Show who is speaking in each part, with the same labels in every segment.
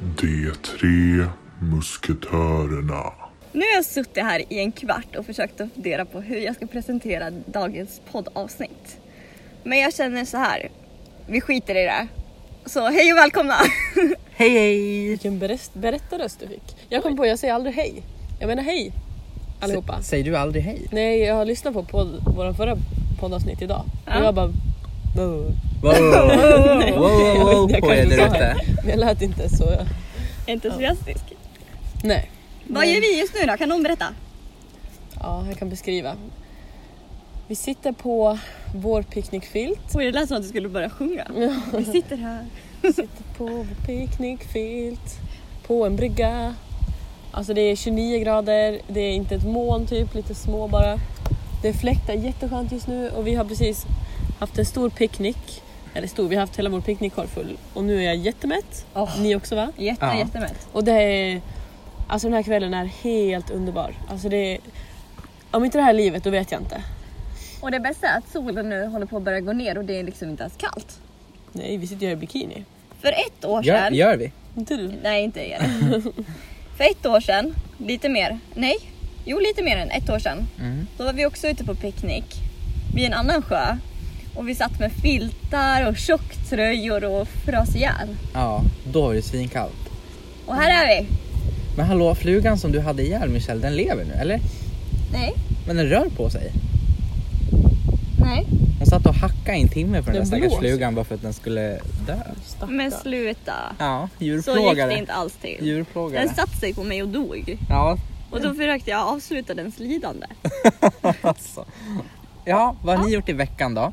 Speaker 1: De tre musketörerna.
Speaker 2: Nu har jag suttit här i en kvart och försökt att fundera på hur jag ska presentera dagens poddavsnitt. Men jag känner så här, vi skiter i det. Så hej och välkomna!
Speaker 3: Hej hej!
Speaker 4: Vilken berätt- berättarröst du fick. Jag kom på, jag säger aldrig hej. Jag menar hej allihopa.
Speaker 3: S- säger du aldrig hej?
Speaker 4: Nej, jag har lyssnat på podd, vår förra poddavsnitt idag. Och jag bara... "Boo."
Speaker 3: Wow, wow,
Speaker 4: jag
Speaker 3: wow, wow
Speaker 4: vet
Speaker 3: Oh,
Speaker 4: inte, jag
Speaker 3: på er
Speaker 4: kanske
Speaker 3: där
Speaker 4: sa
Speaker 3: ute.
Speaker 4: det. Men jag lät inte så... Jag...
Speaker 2: Entusiastisk.
Speaker 4: Nej.
Speaker 2: Vad gör vi just nu då? Kan någon berätta?
Speaker 4: Ja, jag kan beskriva. Vi sitter på vår picknickfilt.
Speaker 2: Oj, det lät som att du skulle börja sjunga. Vi sitter här.
Speaker 4: Sitter på vår picknickfilt. På en brygga. Alltså det är 29 grader, det är inte ett moln typ, lite små bara. Det är fläktar jätteskönt just nu och vi har precis haft en stor picknick. Eller stor, vi har haft hela vår picknickkorg full. Och nu är jag jättemätt.
Speaker 2: Åh.
Speaker 4: Ni också va?
Speaker 2: Jätte,
Speaker 3: Ja.
Speaker 2: jättemätt.
Speaker 4: Och det är... Alltså den här kvällen är helt underbar. Alltså det är... Om inte det här är livet, då vet jag inte.
Speaker 2: Och det bästa är att solen nu håller på att börja gå ner och det är liksom inte ens kallt.
Speaker 4: Nej, vi sitter ju här i bikini.
Speaker 2: För ett år
Speaker 3: Gör,
Speaker 2: sedan...
Speaker 3: gör vi?
Speaker 4: Inte du?
Speaker 2: Nej, inte er. För ett år sedan, lite mer, nej, jo lite mer än ett år sedan.
Speaker 3: Mm.
Speaker 2: Då var vi också ute på picknick vid en annan sjö. Och vi satt med filtar och tjocktröjor och frös ihjäl.
Speaker 3: Ja, då var det svinkallt.
Speaker 2: Och här är vi!
Speaker 3: Men hallå, flugan som du hade ihjäl Michelle, den lever nu eller?
Speaker 2: Nej,
Speaker 3: Men den rör på sig.
Speaker 2: nej.
Speaker 3: Hon satt och hackade i en timme på den,
Speaker 4: Den
Speaker 3: där stackars
Speaker 4: blåser.
Speaker 3: flugan bara för att den skulle dö.
Speaker 2: Men
Speaker 4: Stackarn.
Speaker 2: sluta.
Speaker 3: Ja,
Speaker 2: Så gick
Speaker 3: djurplågare.
Speaker 2: det inte alls till. Den
Speaker 3: Djurplågare.
Speaker 2: satte sig på mig och dog.
Speaker 3: Ja,
Speaker 2: Och då försökte jag avsluta dens lidande.
Speaker 3: alltså. Ja, vad har ni gjort i veckan då?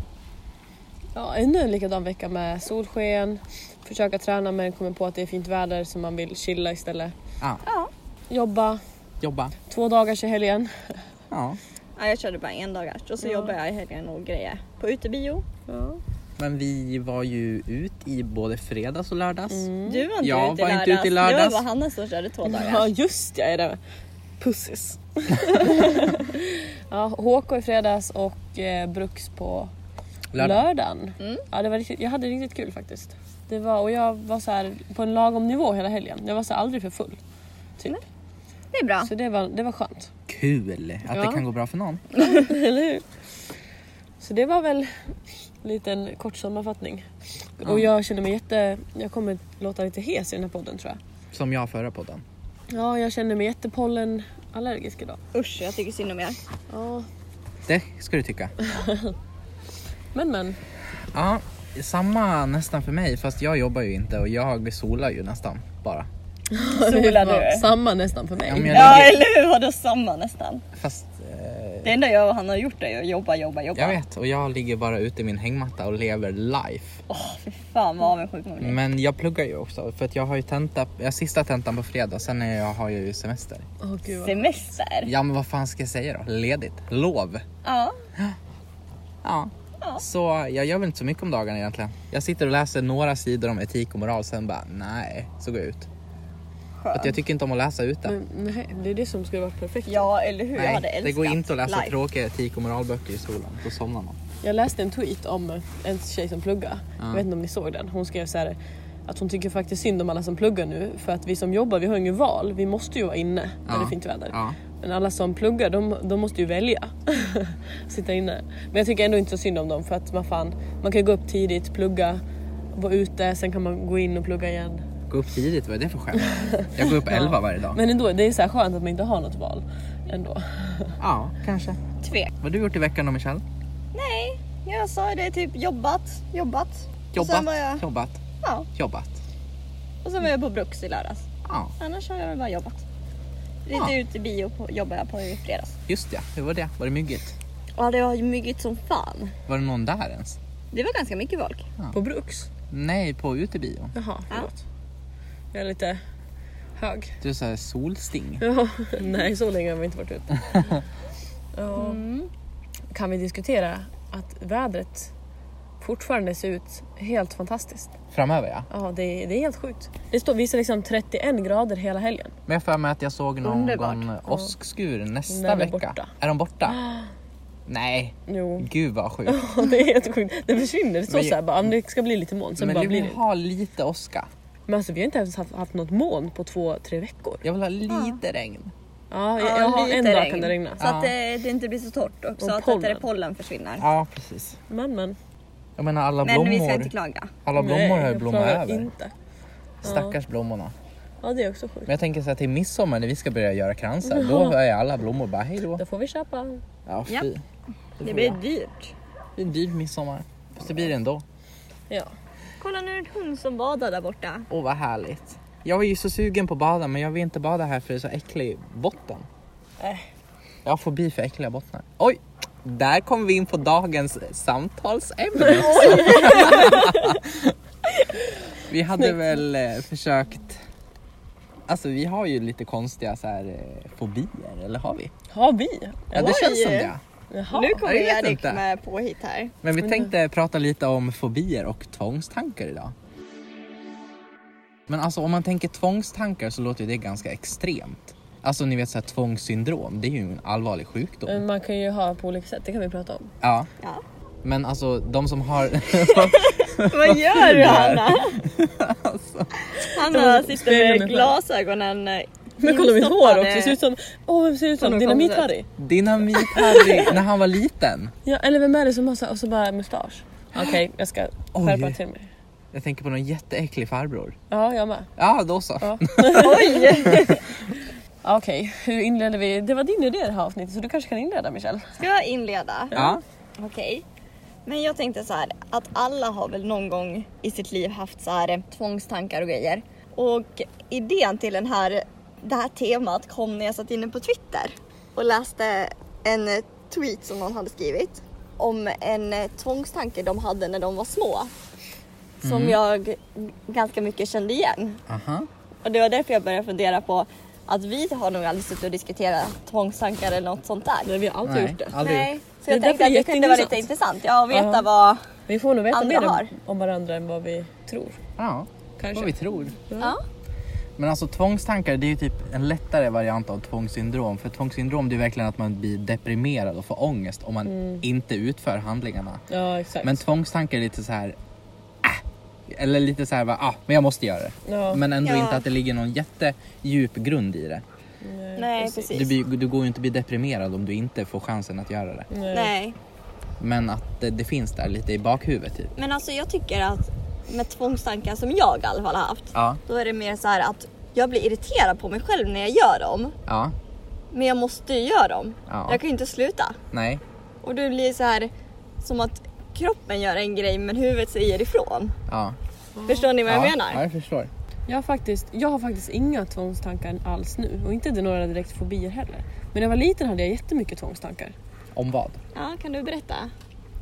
Speaker 4: Ja, ännu en likadan vecka med solsken. Försöka träna men kommer på att det är fint väder så man vill chilla istället.
Speaker 3: Ja,
Speaker 2: Ja.
Speaker 4: Jobba
Speaker 3: jobba.
Speaker 4: två dagar i helgen.
Speaker 3: Ja,
Speaker 2: ja jag körde bara en dagars och så
Speaker 4: Ja.
Speaker 2: jobbar jag i helgen och grejer. På utebio.
Speaker 3: men vi var ju ut i både fredags och lördags.
Speaker 2: Du var inte,
Speaker 3: Jag
Speaker 2: ute,
Speaker 3: Mm. var
Speaker 2: i
Speaker 3: inte ute i
Speaker 2: Det var
Speaker 3: lördags.
Speaker 2: bara Hanna som körde två dagar.
Speaker 4: Ja just ja, är det. Pussis. ja, HK i fredags och eh, Bruks på
Speaker 3: Lördag.
Speaker 4: lördagen.
Speaker 2: Mm.
Speaker 4: Ja, det var riktigt, jag hade riktigt kul faktiskt. Det var, och jag var så här, på en lagom nivå hela helgen. Jag var så här, aldrig för full. Typ.
Speaker 2: Det är bra.
Speaker 4: Så det var, det var skönt.
Speaker 3: Kul att det
Speaker 4: Ja.
Speaker 3: kan gå bra för någon.
Speaker 4: Eller hur? Så det var väl en liten kort sammanfattning. Och jag känner mig jätte... Jag kommer låta lite hes i den här podden tror jag.
Speaker 3: Som jag förra podden.
Speaker 4: Ja, jag känner mig jättepollenallergisk idag.
Speaker 2: Usch, jag tycker synd om er.
Speaker 4: Ja,
Speaker 3: Det ska du tycka.
Speaker 4: men men.
Speaker 3: Ja, samma nästan för mig fast jag jobbar ju inte och jag solar ju nästan bara.
Speaker 2: Solar
Speaker 4: Det var
Speaker 2: du?
Speaker 4: Samma nästan för mig.
Speaker 3: Ja, men jag
Speaker 2: Ja,
Speaker 3: ligger,
Speaker 2: eller hur? Vadå samma nästan?
Speaker 3: fast eh,
Speaker 2: Det enda jag och han har gjort är att jobba, jobba, jobba.
Speaker 3: jag vet och jag ligger bara ute i min hängmatta och lever life.
Speaker 2: Åh, fy fan vad avundsjuk man blir.
Speaker 3: Men jag pluggar ju också för att jag har ju tenta, jag har sista tentan på fredag sen är jag, har jag ju semester.
Speaker 4: Åh, gud, vad-
Speaker 2: Semester?
Speaker 3: Ja men vad fan ska jag säga då? Ledigt. Lov.
Speaker 2: Ja.
Speaker 3: Ja.
Speaker 2: Ja.
Speaker 3: Så jag gör väl inte så mycket om dagarna egentligen. Jag sitter och läser några sidor om etik och moral sen bara nej, så går jag ut. För Att jag tycker inte om att läsa ut det.
Speaker 4: men, nej, det är det som skulle varit perfekt.
Speaker 2: Ja, eller hur? jag hade
Speaker 3: Nej,
Speaker 2: älskat
Speaker 3: det går inte att läsa
Speaker 2: life.
Speaker 3: tråkiga etik och moralböcker i skolan. Då somnar man.
Speaker 4: Jag läste en tweet om en tjej som pluggar. Jag vet inte om ni såg den. Hon skrev så här att hon tycker faktiskt synd om alla som pluggar nu för att vi som jobbar vi har inget val. Vi måste ju vara inne när det är fint väder.
Speaker 3: Ja.
Speaker 4: Men alla som pluggar de, de måste ju välja. Sitta inne. Men jag tycker ändå inte så synd om dem för att man fan, man kan ju gå upp tidigt, plugga, vara ute, sen kan man gå in och plugga igen.
Speaker 3: Gå upp tidigt, vad är det för skämt? Jag går upp 11 varje dag.
Speaker 4: Men ändå, det är så här skönt att man inte har något val. Ändå.
Speaker 3: Ja, kanske.
Speaker 2: Tvek.
Speaker 3: Vad har du gjort i veckan då Michelle?
Speaker 2: Nej, jag sa det typ jobbat, jobbat. Och
Speaker 3: Jobbat,
Speaker 2: sen var jag,
Speaker 3: jobbat,
Speaker 2: ja,
Speaker 3: jobbat.
Speaker 2: och sen var jag på Bruks i lördags.
Speaker 3: Ja,
Speaker 2: Annars har jag väl bara jobbat. Lite
Speaker 3: Ja.
Speaker 2: ute i bio på, jobbar jag på i fredags.
Speaker 3: just ja. Hur var det? Var det myggigt?
Speaker 2: Ja, det var ju myggigt som fan.
Speaker 3: Var det någon där ens?
Speaker 2: Det var ganska mycket folk.
Speaker 4: På Bruks.
Speaker 3: Nej, på utebio.
Speaker 4: Jaha, förlåt. Jag är lite hög.
Speaker 3: Du sa solsting.
Speaker 4: Ja, nej så länge har vi inte varit ute. Mm. Ja. Kan vi diskutera att vädret fortfarande ser ut helt fantastiskt?
Speaker 3: Framöver ja.
Speaker 4: Ja, det är, det är helt sjukt. Det står, visar liksom 31 grader hela helgen.
Speaker 3: Men jag har för mig att jag såg någon
Speaker 2: Underbart.
Speaker 3: gång åskskur nästa
Speaker 4: Den är
Speaker 3: vecka.
Speaker 4: borta.
Speaker 3: Är de borta? Nej,
Speaker 4: Jo,
Speaker 3: gud vad sjukt.
Speaker 4: ja, "Ah, det är helt sjukt. Det försvinner. Det står
Speaker 3: Men-
Speaker 4: såhär bara, "Ja, men det ska bli lite moln, sen
Speaker 3: Men
Speaker 4: bara
Speaker 3: du
Speaker 4: blir
Speaker 3: vill
Speaker 4: det inte.
Speaker 3: ha lite åska.
Speaker 4: Men alltså vi har inte ens haft, haft något moln på två, tre veckor.
Speaker 3: Jag vill ha lite regn.
Speaker 2: Ja,
Speaker 4: Ja, jag, jag har
Speaker 2: lite
Speaker 4: en dag kan det regna.
Speaker 2: Så att det, det inte blir så torrt och så
Speaker 4: Och
Speaker 2: att pollen.
Speaker 4: pollen.
Speaker 2: Inte pollen försvinner.
Speaker 3: Ja, precis.
Speaker 4: Men men.
Speaker 3: Jag menar alla
Speaker 2: Men vi ska
Speaker 3: blommor.
Speaker 2: inte klaga.
Speaker 3: Alla blommor
Speaker 4: Nej,
Speaker 3: har ju
Speaker 4: jag
Speaker 3: blommat
Speaker 4: klarar
Speaker 3: över.
Speaker 4: Inte.
Speaker 3: Stackars blommorna.
Speaker 4: Ja det är också sjukt.
Speaker 3: Men jag tänker så här till midsommar när vi ska börja göra kransar. Då är alla blommor bara hej då.
Speaker 4: Då får vi köpa.
Speaker 3: Ja, fy.
Speaker 2: Ja.
Speaker 3: Det
Speaker 2: Det blir dyrt.
Speaker 3: blir en dyr midsommar. Fast det blir det ändå.
Speaker 4: Ja.
Speaker 2: Kolla nu är det en hund som badar där borta.
Speaker 3: Åh vad härligt. Jag var ju så sugen på att bada men jag vill inte bada här för det är så äcklig botten.
Speaker 4: Äh.
Speaker 3: Jag har fobi för äckliga bottnar. Oj! Där kom vi in på dagens samtalsämne också. vi hade väl eh, försökt... Alltså vi har ju lite konstiga så här, eh, fobier, eller har vi?
Speaker 4: Har vi?
Speaker 3: Ja det
Speaker 4: Oj.
Speaker 3: känns som det.
Speaker 4: Jaha.
Speaker 2: nu
Speaker 3: jag
Speaker 2: kommer
Speaker 3: vet
Speaker 2: Erik
Speaker 3: inte.
Speaker 2: med påhitt här.
Speaker 3: Men vi tänkte prata lite om fobier och tvångstankar idag. Men alltså om man tänker tvångstankar så låter ju det ganska extremt. Alltså ni vet så här tvångssyndrom, det är ju en allvarlig sjukdom.
Speaker 4: Men Man kan ju ha på olika sätt, det kan vi prata om.
Speaker 3: Ja,
Speaker 2: Ja.
Speaker 3: men alltså de som har...
Speaker 2: Vad gör du Hanna? Alltså. Hanna
Speaker 4: spegeln
Speaker 2: sitter
Speaker 4: är
Speaker 2: med
Speaker 4: själv.
Speaker 2: glasögonen eh,
Speaker 4: Men kolla mitt hår
Speaker 2: instoppade.
Speaker 4: också, det ser ut som... Åh vem ser ut
Speaker 2: Som
Speaker 4: som?
Speaker 2: någon
Speaker 4: Dynamit-Harry?
Speaker 3: Dynamit-Harry, när han var liten.
Speaker 4: Ja eller vem är det som har så här, och så bara mustasch? Okej jag ska
Speaker 3: Oj.
Speaker 4: skärpa till mig.
Speaker 3: Jag tänker på någon jätteäcklig farbror.
Speaker 4: Ja jag med.
Speaker 3: Ja, då så.
Speaker 4: Ja. Okej, hur inleder vi? Det var din idé det här avsnittet så du kanske kan inleda Michelle?
Speaker 2: Ska jag inleda?
Speaker 3: Ja.
Speaker 2: Okej. Men jag tänkte så här att alla har väl någon gång i sitt liv haft så här eh, tvångstankar och grejer. Och idén till den här, det här temat kom när jag satt inne på Twitter och läste en eh, tweet som någon hade skrivit om en eh, tvångstanke de hade när de var små. Som jag ganska mycket kände igen.
Speaker 3: Aha.
Speaker 2: Och det var därför jag började fundera på att vi har nog aldrig suttit och diskuterat tvångstankar eller något sånt där.
Speaker 4: Nej vi har alltid
Speaker 3: Nej,
Speaker 4: gjort det.
Speaker 3: aldrig gjort.
Speaker 2: Nej, så
Speaker 4: Det är
Speaker 2: jag tänkte
Speaker 4: därför
Speaker 2: att det kunde vara
Speaker 4: jätteintressant.
Speaker 2: lite intressant. Ja, och veta
Speaker 4: Ja.
Speaker 2: vad...
Speaker 4: Vi får nog veta
Speaker 2: Andra
Speaker 4: mer om,
Speaker 2: har.
Speaker 4: om varandra än vad vi tror.
Speaker 3: Ja,
Speaker 4: Kanske.
Speaker 3: vad vi tror.
Speaker 4: Mm.
Speaker 2: Ja.
Speaker 3: Men alltså tvångstankar det är ju typ en lättare variant av tvångssyndrom. För tvångssyndrom det är verkligen att man blir deprimerad och får ångest om man
Speaker 2: Mm.
Speaker 3: inte utför handlingarna.
Speaker 4: Ja exakt.
Speaker 3: Men tvångstankar är lite så här. Äh, eller lite så här, va, ah, men jag måste göra det.
Speaker 4: Ja.
Speaker 3: Men ändå
Speaker 2: Ja.
Speaker 3: inte att det ligger någon jättedjup grund i det.
Speaker 2: Nej,
Speaker 4: precis.
Speaker 2: precis.
Speaker 3: Du, blir, du går ju inte att bli deprimerad om du inte får chansen att göra det.
Speaker 4: Nej.
Speaker 2: Nej,
Speaker 3: Men att det, det finns där lite i bakhuvudet typ.
Speaker 2: men alltså jag tycker att med tvångstankar som jag i alla fall har haft,
Speaker 3: Ja,
Speaker 2: då är det mer så här att jag blir irriterad på mig själv när jag gör dem.
Speaker 3: ja,
Speaker 2: Men jag måste ju göra dem.
Speaker 3: Ja.
Speaker 2: Jag kan ju inte sluta.
Speaker 3: nej.
Speaker 2: Och det blir så här som att kroppen gör en grej men huvudet säger ifrån.
Speaker 3: Ja.
Speaker 2: Förstår ni vad jag
Speaker 3: ja. Ja,
Speaker 2: menar?
Speaker 3: jag förstår.
Speaker 4: Jag har, faktiskt, jag har faktiskt inga tvångstankar alls nu och inte några direkt fobier heller. Men när jag var liten hade jag jättemycket tvångstankar.
Speaker 3: Om vad?
Speaker 2: Ja, kan du berätta?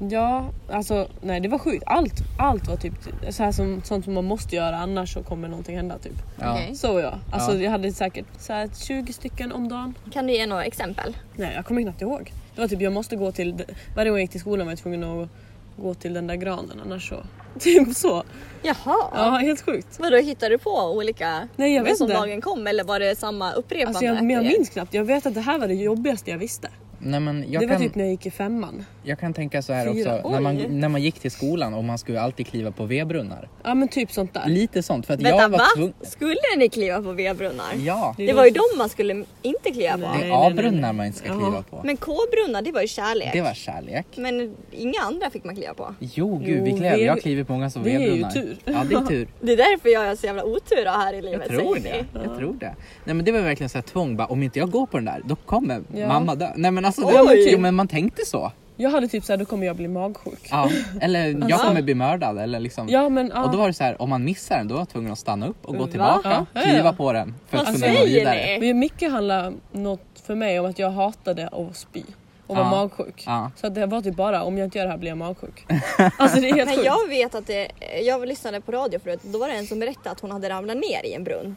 Speaker 4: Ja, alltså nej det var sjukt. Allt, allt var typ så här som, sånt som man måste göra annars så kommer någonting hända typ.
Speaker 3: Ja.
Speaker 2: Okej.
Speaker 4: Så var jag. Alltså
Speaker 3: Ja.
Speaker 4: jag hade säkert så här 20 stycken om dagen.
Speaker 2: Kan du ge några exempel?
Speaker 4: Nej jag kommer knappt ihåg. Det var typ jag måste gå till, varje gång jag gick till skolan var jag tvungen att gå till den där granen annars så. Typ så.
Speaker 2: Jaha.
Speaker 4: Ja helt sjukt.
Speaker 2: Vadå, hittade du på olika
Speaker 4: Nej, jag
Speaker 2: men
Speaker 4: vet
Speaker 2: som
Speaker 4: inte.
Speaker 2: dagen kom eller var det samma upprepande?
Speaker 4: Alltså jag, men jag
Speaker 2: grejer?
Speaker 4: minns knappt. Jag vet att det här var det jobbigaste jag visste.
Speaker 3: Nej, men jag
Speaker 4: det var
Speaker 3: kan...
Speaker 4: typ när jag gick i femman.
Speaker 3: Jag kan tänka så här
Speaker 4: Fyra,
Speaker 3: också, när man,
Speaker 4: oj.
Speaker 3: när man gick till skolan och man skulle alltid kliva på vedbrunnar.
Speaker 4: Ja men typ sånt där.
Speaker 3: Lite sånt för att
Speaker 2: Vänta
Speaker 3: jag
Speaker 2: va?
Speaker 3: var tvungen...
Speaker 2: Skulle ni kliva på V-brunnar?
Speaker 3: Ja, det
Speaker 2: Det var ju de man skulle inte kliva på.
Speaker 4: Nej.
Speaker 3: är A-brunnar man inte ska
Speaker 4: Jaha.
Speaker 3: kliva på.
Speaker 2: Men K-brunnar det var ju kärlek.
Speaker 3: Det var kärlek.
Speaker 2: Men inga andra fick man kliva på.
Speaker 3: Jo gud, vi
Speaker 4: Jo,
Speaker 3: klev.
Speaker 4: det-
Speaker 3: jag har klivit på många som
Speaker 4: det är ju
Speaker 3: vedbrunnar.
Speaker 4: tur.
Speaker 3: Ja det är tur.
Speaker 2: Det är därför jag har så jävla otur då här i livet.
Speaker 3: Jag tror
Speaker 2: säger
Speaker 3: det.
Speaker 2: ni.
Speaker 3: Jag tror det. Nej men det var verkligen så här tvång bara, om inte jag går på den där då kommer
Speaker 4: Ja.
Speaker 3: mamma dö. Nej men alltså,
Speaker 4: Oj.
Speaker 3: det, jo, men man tänkte så.
Speaker 4: Jag hade typ såhär, då kommer jag bli magsjuk.
Speaker 3: Ja. Eller jag kommer bli mördad eller liksom.
Speaker 4: Alltså. Ja men ja. Mm,
Speaker 3: Och då var det så här, om man missar den då var jag tvungen att stanna upp och gå
Speaker 2: Va?
Speaker 3: tillbaka,
Speaker 4: Ja, ja, ja.
Speaker 3: kliva på den för att
Speaker 2: Vad
Speaker 3: kunna gå
Speaker 2: säger
Speaker 3: vidare.
Speaker 2: ni?
Speaker 4: Men Micke handlade något för mig om att jag hatade att spy och var
Speaker 3: Ja.
Speaker 4: magsjuk.
Speaker 3: Ja.
Speaker 4: Så att det var typ bara om jag inte gör det här blir jag magsjuk. Alltså det är helt
Speaker 2: Men
Speaker 4: sjukt.
Speaker 2: jag vet att det, jag lyssnade på radio förut då var det en som berättade att hon hade ramlat ner i en brunn.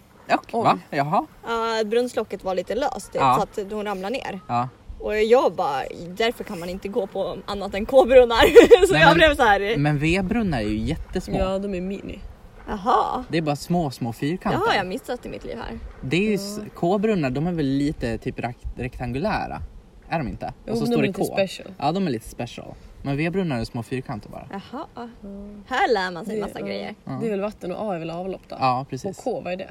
Speaker 3: Och, va? Jaha.
Speaker 2: Uh, brunnslocket var lite löst typ,
Speaker 3: Ja.
Speaker 2: så att hon ramlade ner.
Speaker 3: Ja.
Speaker 2: Och jag bara, därför kan man inte gå på annat än K-brunnar. så
Speaker 3: Nej,
Speaker 2: jag
Speaker 3: men-
Speaker 2: blev så här.
Speaker 3: Men vedbrunnar är ju jättesmå.
Speaker 4: Ja de är mini.
Speaker 2: jaha.
Speaker 3: Det är bara små, små
Speaker 2: Det
Speaker 3: fyrkanter.
Speaker 2: har jag missat i mitt liv här.
Speaker 3: Det är ju s-
Speaker 2: Mm.
Speaker 3: K-brunnar, de är väl lite typ rakt- rektangulära? Är de inte?
Speaker 4: Jo, de är lite special.
Speaker 3: Ja, de är lite special. Men vedbrunnar är små fyrkanter bara.
Speaker 2: Jaha. Här lär man sig
Speaker 4: Det-
Speaker 2: massa
Speaker 4: ja.
Speaker 2: grejer.
Speaker 4: Det är väl vatten och A är väl avlopp då?
Speaker 3: Ja,
Speaker 4: och
Speaker 3: precis.
Speaker 4: K, vad är det?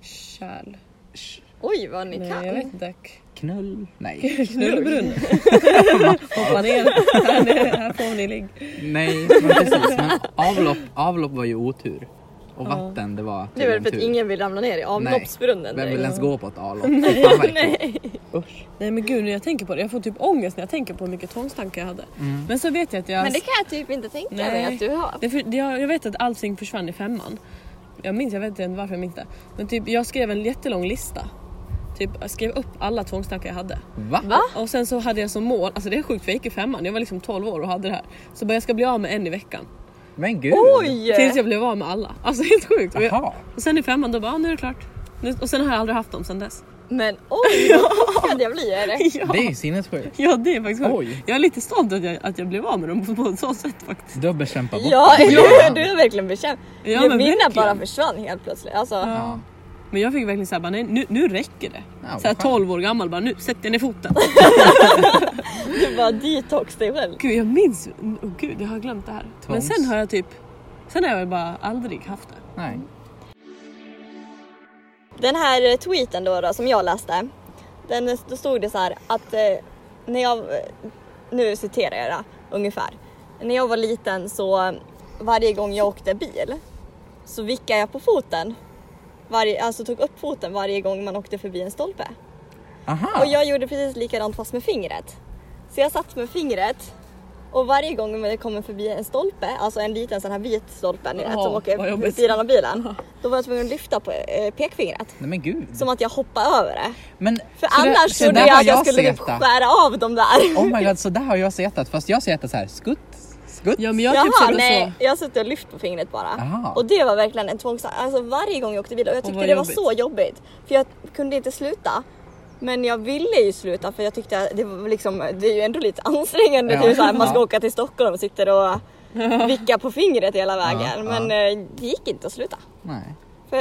Speaker 4: Kärl?
Speaker 3: Sh-
Speaker 2: Oj vad ni
Speaker 4: Nej,
Speaker 2: kan.
Speaker 4: jag vet inte.
Speaker 3: Knull. Nej.
Speaker 4: Knullbrunn. Hoppa ner. Här, nere, här får ni ligg.
Speaker 3: Nej, men precis. Men avlopp, avlopp var ju otur. Och vatten, det var
Speaker 2: Det är väl för att
Speaker 3: tur.
Speaker 2: ingen vill ramla ner i avloppsbrunnen.
Speaker 3: Vem
Speaker 2: direkt.
Speaker 3: vill ens gå på ett avlopp? Fy fan, vad äckligt.
Speaker 2: Nej.
Speaker 4: Nej men gud när jag tänker på det, jag får typ ångest när jag tänker på hur mycket tvångstankar jag hade. Men så vet jag att jag...
Speaker 2: Men det kan jag typ inte tänka
Speaker 4: Nej.
Speaker 2: mig att du har.
Speaker 4: Det är för, det- jag, jag vet att allting försvann i femman. Jag minns, jag vet inte varför jag minns det. Men typ jag skrev en jättelång lista. Typ jag skrev upp alla tvångstankar jag hade.
Speaker 3: Va?
Speaker 2: Va?
Speaker 4: Och sen så hade jag som mål, alltså det är sjukt för jag gick i femman, jag var liksom 12 år och hade det här. Så bara jag ska bli av med en i veckan.
Speaker 3: Men gud.
Speaker 2: Oj!
Speaker 4: Tills jag blev av med alla. Alltså helt sjukt. Och, jag,
Speaker 3: Jaha.
Speaker 4: och sen i femman då bara, ah, nu är det klart. Nu, och sen har jag aldrig haft dem sen dess.
Speaker 2: Men oj vad chockad jag blir.
Speaker 3: Det är ju sinnessjukt.
Speaker 4: Ja det är faktiskt sjukt.
Speaker 3: Oj.
Speaker 4: Jag är lite stolt att jag, att jag blev av med dem på, på ett sånt sätt faktiskt.
Speaker 3: Du har bekämpat bort
Speaker 2: Ja,
Speaker 3: det.
Speaker 2: du är verkligen bekämp.
Speaker 4: Ja,
Speaker 2: Ja, Mina
Speaker 4: men verkligen.
Speaker 2: bara försvann helt plötsligt. Alltså,
Speaker 3: Ja.
Speaker 4: Men jag fick verkligen såhär, bara, nej nu, nu räcker det.
Speaker 3: Ja, vad
Speaker 4: såhär
Speaker 3: fan.
Speaker 4: 12 år gammal bara, nu sätter jag ner foten.
Speaker 2: Du bara detox dig själv.
Speaker 4: gud jag minns, oh, gud jag har glömt det här. Men
Speaker 3: Tvångs.
Speaker 4: sen har jag typ, sen har jag väl bara aldrig haft det.
Speaker 3: Nej.
Speaker 2: Den här eh, tweeten då, då som jag läste. Den, eh, då stod det så här att eh, när jag, nu citerar jag det ungefär. När jag var liten så varje gång jag åkte bil så vickade jag på foten. Varje, alltså tog upp foten varje gång man åkte förbi en stolpe.
Speaker 3: Aha.
Speaker 4: Ah.
Speaker 2: Och jag gjorde precis likadant fast med fingret. Så jag satt med fingret och varje gång man kommer förbi en stolpe, alltså en liten sån här vit stolpe ni vet,
Speaker 4: Jaha,
Speaker 2: som
Speaker 4: vad
Speaker 2: åker
Speaker 4: jobbigt.
Speaker 2: vid sidan av bilen. Då var jag tvungen att lyfta på eh, pekfingret.
Speaker 3: Nej men gud.
Speaker 2: Som att jag hoppade över det.
Speaker 3: Men,
Speaker 2: För
Speaker 3: så där-
Speaker 2: annars
Speaker 3: så
Speaker 2: trodde
Speaker 3: där
Speaker 2: jag
Speaker 3: har
Speaker 2: att jag skulle typ
Speaker 3: setat.
Speaker 2: skära av dem där.
Speaker 3: Oh my god, så där har jag setat. Fast jag setar så här skutt, skutt.
Speaker 4: Ja men jag har typ
Speaker 2: Jaha,
Speaker 4: sett det så.
Speaker 2: nej. Jag har suttit och lyft på fingret bara.
Speaker 3: Aha.
Speaker 2: Och det var verkligen en tvångstanke. Alltså varje gång jag åkte bil och jag tyckte
Speaker 4: vad
Speaker 2: det var
Speaker 4: jobbigt.
Speaker 2: så jobbigt. För jag kunde inte sluta. Men jag ville ju sluta för jag tyckte att det var liksom, det är ju ändå lite ansträngande.
Speaker 3: Ja.
Speaker 2: Typ så här, man ska
Speaker 3: Ja.
Speaker 2: åka till Stockholm och sitter och vickar på fingret hela vägen.
Speaker 3: Ja,
Speaker 2: Men eh, det gick inte att sluta.
Speaker 3: Nej.
Speaker 2: För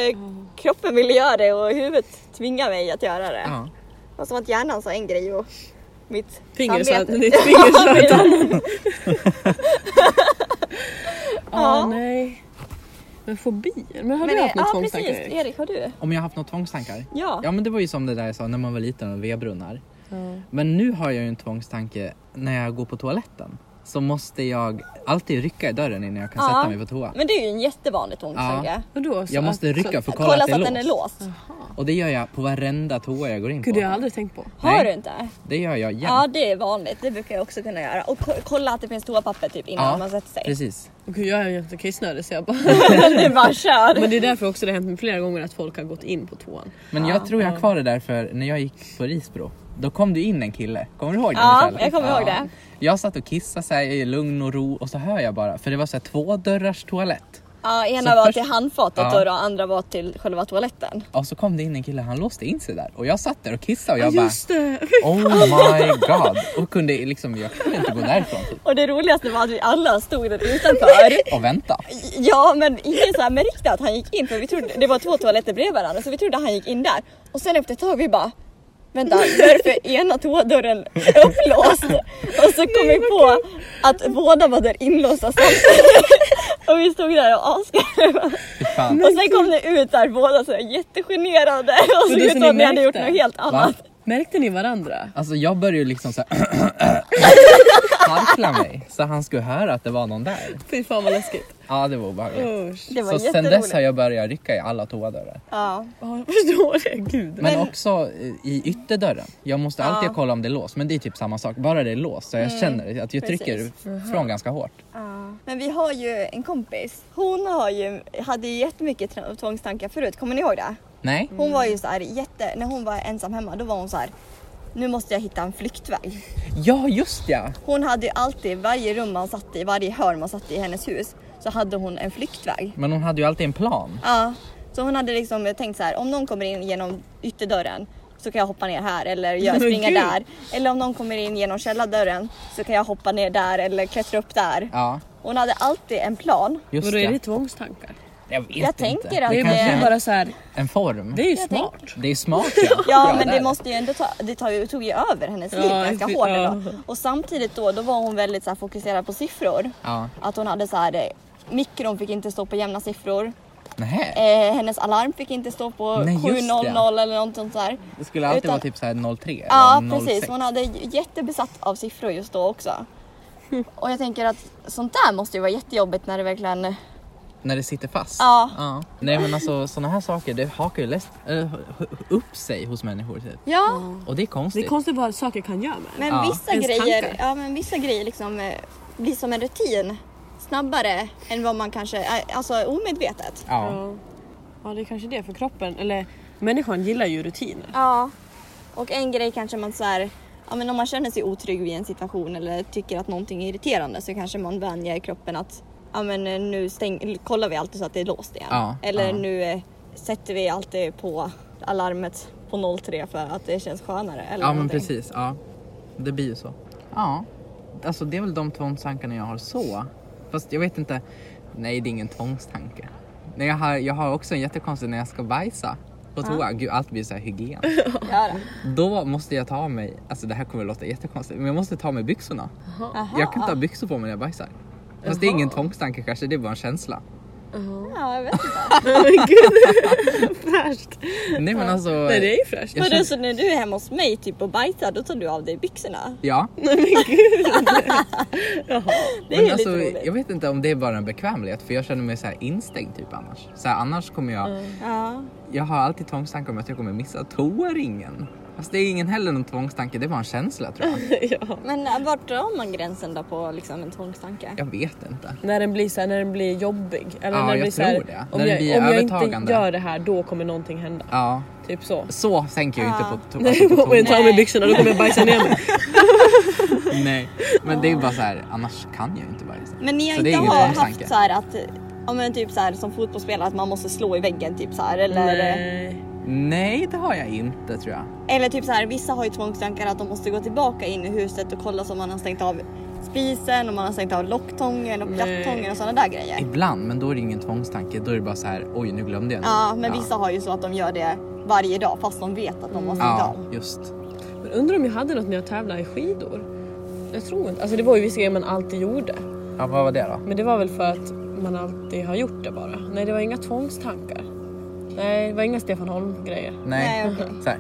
Speaker 2: kroppen ville göra det och huvudet tvingade mig att göra det.
Speaker 3: Ja.
Speaker 2: Det var som att hjärnan sa en grej och mitt
Speaker 4: Finger sa-
Speaker 2: samvete-
Speaker 4: ditt finger sa ett
Speaker 2: Ja,
Speaker 4: Ah,
Speaker 2: Ja.
Speaker 4: nej. Men fobier? Men har
Speaker 2: Men
Speaker 4: du
Speaker 2: det,
Speaker 4: haft några
Speaker 2: ja precis,
Speaker 4: tvångstankar Erik?
Speaker 2: Erik har du?
Speaker 3: Om jag har haft några tvångstankar?
Speaker 2: Ja.
Speaker 3: Ja men det var ju som det där jag sa när man var liten och vedbrunnar. Men nu har jag ju en tvångstanke när jag går på toaletten. Så måste jag alltid rycka i dörren innan jag kan
Speaker 2: Ja.
Speaker 3: sätta mig på toa.
Speaker 2: Men det är ju en jättevanlig tvångstanke.
Speaker 4: Vadå? så
Speaker 3: Jag måste
Speaker 4: att-
Speaker 3: rycka för att
Speaker 2: Kolla
Speaker 3: kolla,
Speaker 2: så
Speaker 3: att
Speaker 2: att
Speaker 3: det är
Speaker 2: den är
Speaker 3: låst.
Speaker 2: låst.
Speaker 3: Och det gör jag på varenda toa jag går in
Speaker 4: Gud det har jag
Speaker 3: på.
Speaker 4: aldrig tänkt på.
Speaker 2: Har
Speaker 3: Nej.
Speaker 2: du inte?
Speaker 3: Det gör jag jämt.
Speaker 2: Ja det är vanligt, det brukar jag också kunna göra. Och ko- kolla att det finns toapapper typ innan
Speaker 3: Ja,
Speaker 2: man sätter sig.
Speaker 3: Precis.
Speaker 4: Och Gud jag är ju inte kissnödig så jag bara...
Speaker 2: det är bara kör.
Speaker 4: Men det är därför också det har hänt mig flera gånger att folk har gått in på toan.
Speaker 3: Men jag tror
Speaker 2: eh.
Speaker 3: jag har kvar det där för när jag gick på Risbro. Då kom du in en kille. Kommer du ihåg det
Speaker 2: Ja,
Speaker 3: Michelle?
Speaker 2: jag kommer ihåg det.
Speaker 3: Jag satt och kissade så här, i lugn och ro och så hör jag bara, för det var så här två dörrars toalett.
Speaker 2: Ja, ena
Speaker 3: Så
Speaker 2: var
Speaker 3: först-
Speaker 2: till handfatet
Speaker 3: Ja.
Speaker 2: och då andra var till själva toaletten.
Speaker 3: Och så kom det in en kille, han låste in sig där. Och jag satt där och kissade och jag
Speaker 4: Ja,
Speaker 3: bara
Speaker 4: just det!
Speaker 3: Oh my god! Och kunde liksom, jag kunde inte gå därifrån typ.
Speaker 2: Och det roligaste var att vi alla stod där utanför.
Speaker 3: Och vänta.
Speaker 2: Ja men ingen så här med riktigt att han gick in för vi trodde, det var två toaletter bredvid varandra så vi trodde han gick in där. Och sen efter ett tag vi bara Vänta, varför är ena toadörren upplåst? Och så kom vi på att båda var där inlåsta samtidigt. Och vi stod där och asgarvade.
Speaker 3: Fy fan.
Speaker 2: Och sen kom det ut där båda så här jättegenerade och
Speaker 4: Men
Speaker 2: såg
Speaker 4: det
Speaker 2: ut som
Speaker 4: som ni
Speaker 2: att ni hade gjort
Speaker 4: märkte.
Speaker 2: något helt annat.
Speaker 4: Märkte ni varandra?
Speaker 3: Alltså jag började ju liksom så här harkla mig så han skulle höra att det var någon där.
Speaker 4: Fy fan vad läskigt.
Speaker 3: Ja det var obehagligt.
Speaker 4: Usch.
Speaker 2: Oh, Det var
Speaker 3: Så sen
Speaker 2: jätteroligt.
Speaker 3: dess har jag börjat rycka i alla toadörrar.
Speaker 2: Ja.
Speaker 4: Ja, jag förstår det. Gud.
Speaker 3: Men,
Speaker 2: Men-
Speaker 3: också eh, i ytterdörren. Jag måste alltid kolla om det är låst men det är typ samma sak. Bara det är låst så jag känner att jag trycker
Speaker 2: precis.
Speaker 3: från ganska hårt.
Speaker 2: Men vi har ju en kompis. Hon har ju, hade ju jättemycket tra- tvångstankar förut, kommer ni ihåg det?
Speaker 3: Nej?
Speaker 2: Hon var ju
Speaker 4: Mm.
Speaker 2: så här jätte, när hon var ensam hemma då var hon så här. Nu måste jag hitta en flyktväg.
Speaker 3: Ja just ja!
Speaker 2: Hon hade ju alltid, varje rum man satt i, varje hörn man satt i i hennes hus så hade hon en flyktväg.
Speaker 3: Men hon hade ju alltid en plan.
Speaker 2: Ja, så hon hade liksom tänkt så här om någon kommer in genom ytterdörren så kan jag hoppa ner här eller jag
Speaker 4: Men
Speaker 2: springa
Speaker 4: gud.
Speaker 2: där. Eller om någon kommer in genom källardörren så kan jag hoppa ner där eller klättra upp där.
Speaker 3: Ja,
Speaker 2: Hon hade alltid en plan.
Speaker 3: just
Speaker 4: Vadå är
Speaker 3: ja.
Speaker 4: det tvångstankar?
Speaker 3: Jag vet
Speaker 2: Jag
Speaker 3: inte.
Speaker 2: tänker att
Speaker 3: det
Speaker 4: Det
Speaker 2: det-
Speaker 4: är ju
Speaker 3: kanske är
Speaker 4: bara så här,
Speaker 3: en form.
Speaker 4: det är ju smart.
Speaker 3: Det är smart ja.
Speaker 2: Ja men
Speaker 3: där.
Speaker 2: det måste ju ändå ta, det tar ju, tog ju över hennes liv
Speaker 4: Ja,
Speaker 2: ganska
Speaker 4: det-
Speaker 2: hårt
Speaker 4: ja.
Speaker 2: ändå. Och samtidigt då, då var hon väldigt så här fokuserad på siffror.
Speaker 3: Ja.
Speaker 2: Att hon hade så här, eh, mikron fick inte stå på jämna siffror.
Speaker 3: Nähä.
Speaker 2: Eh, hennes alarm fick inte stå på
Speaker 3: Nej, just
Speaker 2: 7.00 eller något sånt där.
Speaker 3: Det skulle alltid
Speaker 2: utan-
Speaker 3: vara typ så här 03
Speaker 2: Ja
Speaker 3: eller 06.
Speaker 2: precis, hon hade j- jättebesatt av siffror just då också. Och jag tänker att sånt där måste ju vara jättejobbigt när det verkligen...
Speaker 3: När det sitter fast.
Speaker 2: Ja.
Speaker 3: Nej men alltså sådana här saker det hakar ju läst, eh, upp sig hos människor typ.
Speaker 2: Ja,
Speaker 3: Och det är
Speaker 4: Det
Speaker 3: konstigt.
Speaker 4: är konstigt vad saker kan göra med en.
Speaker 2: men
Speaker 3: Ja.
Speaker 2: vissa
Speaker 4: Ens
Speaker 2: grejer,
Speaker 4: tankar.
Speaker 2: ja, men vissa grejer liksom eh, blir som en rutin snabbare än vad man kanske, eh, alltså omedvetet.
Speaker 3: ja.
Speaker 4: Ja. ja, det är kanske det för kroppen. Eller människan gillar ju rutiner.
Speaker 2: Ja. Och en grej kanske man så här, ja men om man känner sig otrygg i en situation eller tycker att någonting är irriterande så kanske man vänjer kroppen att ja men eh, nu stäng, kollar vi alltid så att det är låst igen.
Speaker 3: Ja,
Speaker 2: eller
Speaker 3: ja.
Speaker 2: nu eh, sätter vi alltid på alarmet på 03 för att det känns skönare. Eller
Speaker 3: ja men
Speaker 2: någonting.
Speaker 3: precis. Ja. Det blir ju så. Ja. Alltså det är väl de tvångstankarna jag har så. Fast jag vet inte. Nej det är ingen tvångstanke. Nej, jag, har, jag har också en jättekonstig när jag ska bajsa på toa. Gud allt blir så här hygien.
Speaker 2: Ja, då.
Speaker 3: Då måste jag ta av mig, alltså det här kommer att låta jättekonstigt, men jag måste ta av mig byxorna.
Speaker 2: Aha.
Speaker 3: Jag kan inte ha byxor på mig när jag bajsar. Fast det är ingen tvångstanke kanske, det är bara en känsla.
Speaker 2: Ja, jag vet inte.
Speaker 4: Fräscht!
Speaker 3: Nej men alltså...
Speaker 4: Nej det är ju fräscht.
Speaker 3: Jag
Speaker 2: Vadå,
Speaker 3: känner-
Speaker 2: så alltså, när du är hemma hos mig typ och bajsar då tar du av dig byxorna?
Speaker 3: Ja,
Speaker 2: Det är
Speaker 3: men
Speaker 2: ju
Speaker 3: alltså,
Speaker 2: lite roligt.
Speaker 3: jag vet inte om det är bara en bekvämlighet för jag känner mig så här instängd typ annars. Så här, annars kommer jag,
Speaker 2: Ja.
Speaker 3: jag har alltid tvångstankar om att jag kommer missa toaringen. Fast det är ingen heller någon tvångstanke, det är bara en känsla tror jag.
Speaker 4: ja.
Speaker 2: Men eh, vart drar man gränsen då på liksom en tvångstanke?
Speaker 3: Jag vet inte.
Speaker 4: När den blir så här, när den blir jobbig. Eller
Speaker 3: Ja,
Speaker 4: när den
Speaker 3: jag
Speaker 4: blir så här,
Speaker 3: tror det.
Speaker 4: Om,
Speaker 3: När den
Speaker 4: jag,
Speaker 3: blir
Speaker 4: om jag inte
Speaker 3: övertagande.
Speaker 4: gör det här då kommer någonting hända.
Speaker 3: Ja,
Speaker 4: Typ så.
Speaker 3: så tänker jag ju
Speaker 2: Ja.
Speaker 3: inte på, to-
Speaker 4: Nej,
Speaker 3: alltså, på
Speaker 4: om jag
Speaker 3: toa.
Speaker 4: tar av mig byxorna då kommer jag bajsa ner mig.
Speaker 3: Nej, men det är bara så här, annars kan jag ju inte bajsa.
Speaker 2: Men ni har
Speaker 3: Så det är
Speaker 2: inte
Speaker 3: ingen
Speaker 2: har
Speaker 3: tvångstanke.
Speaker 2: haft så här att Ja men typ så här som fotbollsspelare att man måste slå i väggen typ så här eller,
Speaker 4: Nej.
Speaker 3: Nej, det har jag inte tror jag.
Speaker 2: eller typ så här vissa har ju tvångstankar att de måste gå tillbaka in i huset och kolla så om man har stängt av spisen och man har stängt av locktången och plattången och sådana där grejer.
Speaker 3: Ibland, men då är det ingen tvångstanke. Då är det bara så här, oj nu glömde jag något."
Speaker 2: Ja men vissa har ju så att de gör det varje dag fast de vet att de har stängt
Speaker 3: Mm. Ja,
Speaker 2: av.
Speaker 3: just.
Speaker 4: Men undrar om jag hade något när jag tävlade i skidor. Jag tror inte. Alltså det var ju vissa grejer man alltid gjorde.
Speaker 3: Ja, vad var det då?
Speaker 4: Men det var väl för att man alltid har gjort det bara. Nej det var inga tvångstankar. Nej det var inga Stefan Holm grejer.
Speaker 3: Nej,
Speaker 2: Nej, okej.
Speaker 3: så här.